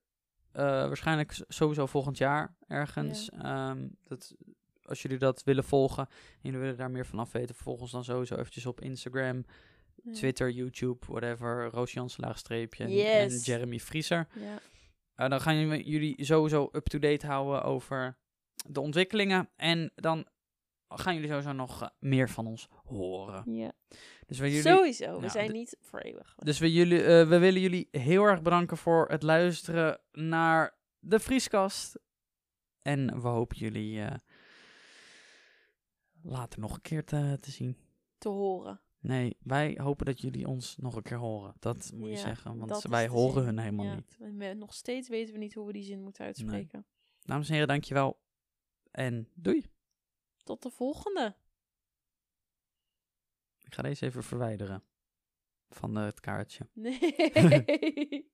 Speaker 1: eh, waarschijnlijk s- sowieso volgend jaar ergens. Ehm, dat, als jullie dat willen volgen en jullie willen daar meer van af weten, volg ons dan sowieso eventjes op Instagram,
Speaker 2: Ja.
Speaker 1: Twitter, YouTube, whatever. Roos Jansen laagstreepje en- en
Speaker 2: Yes.
Speaker 1: Jeremy Vriezer.
Speaker 2: Ja.
Speaker 1: Eh, dan gaan we jullie sowieso up-to-date houden over de ontwikkelingen. En dan gaan jullie sowieso nog eh, meer van ons horen.
Speaker 2: ja.
Speaker 1: Dus we, jullie,
Speaker 2: Sowieso, we
Speaker 1: nou,
Speaker 2: zijn
Speaker 1: de-
Speaker 2: niet voor eeuwig.
Speaker 1: dus we, jullie, eh, we willen jullie heel erg bedanken voor het luisteren naar de Vrieskast. En we hopen jullie eh, later nog een keer te, te zien.
Speaker 2: Te horen.
Speaker 1: Nee, wij hopen dat jullie ons nog een keer horen. Dat moet je
Speaker 2: Ja,
Speaker 1: zeggen,
Speaker 2: dat
Speaker 1: want
Speaker 2: is
Speaker 1: wij
Speaker 2: de
Speaker 1: horen
Speaker 2: zin.
Speaker 1: hun helemaal
Speaker 2: Ja.
Speaker 1: niet.
Speaker 2: En we- nog steeds weten we niet hoe we die zin moeten uitspreken.
Speaker 1: Dames en heren, dankjewel. En doei.
Speaker 2: Tot de volgende.
Speaker 1: Ik ga deze even verwijderen van eh, het kaartje.
Speaker 2: Nee.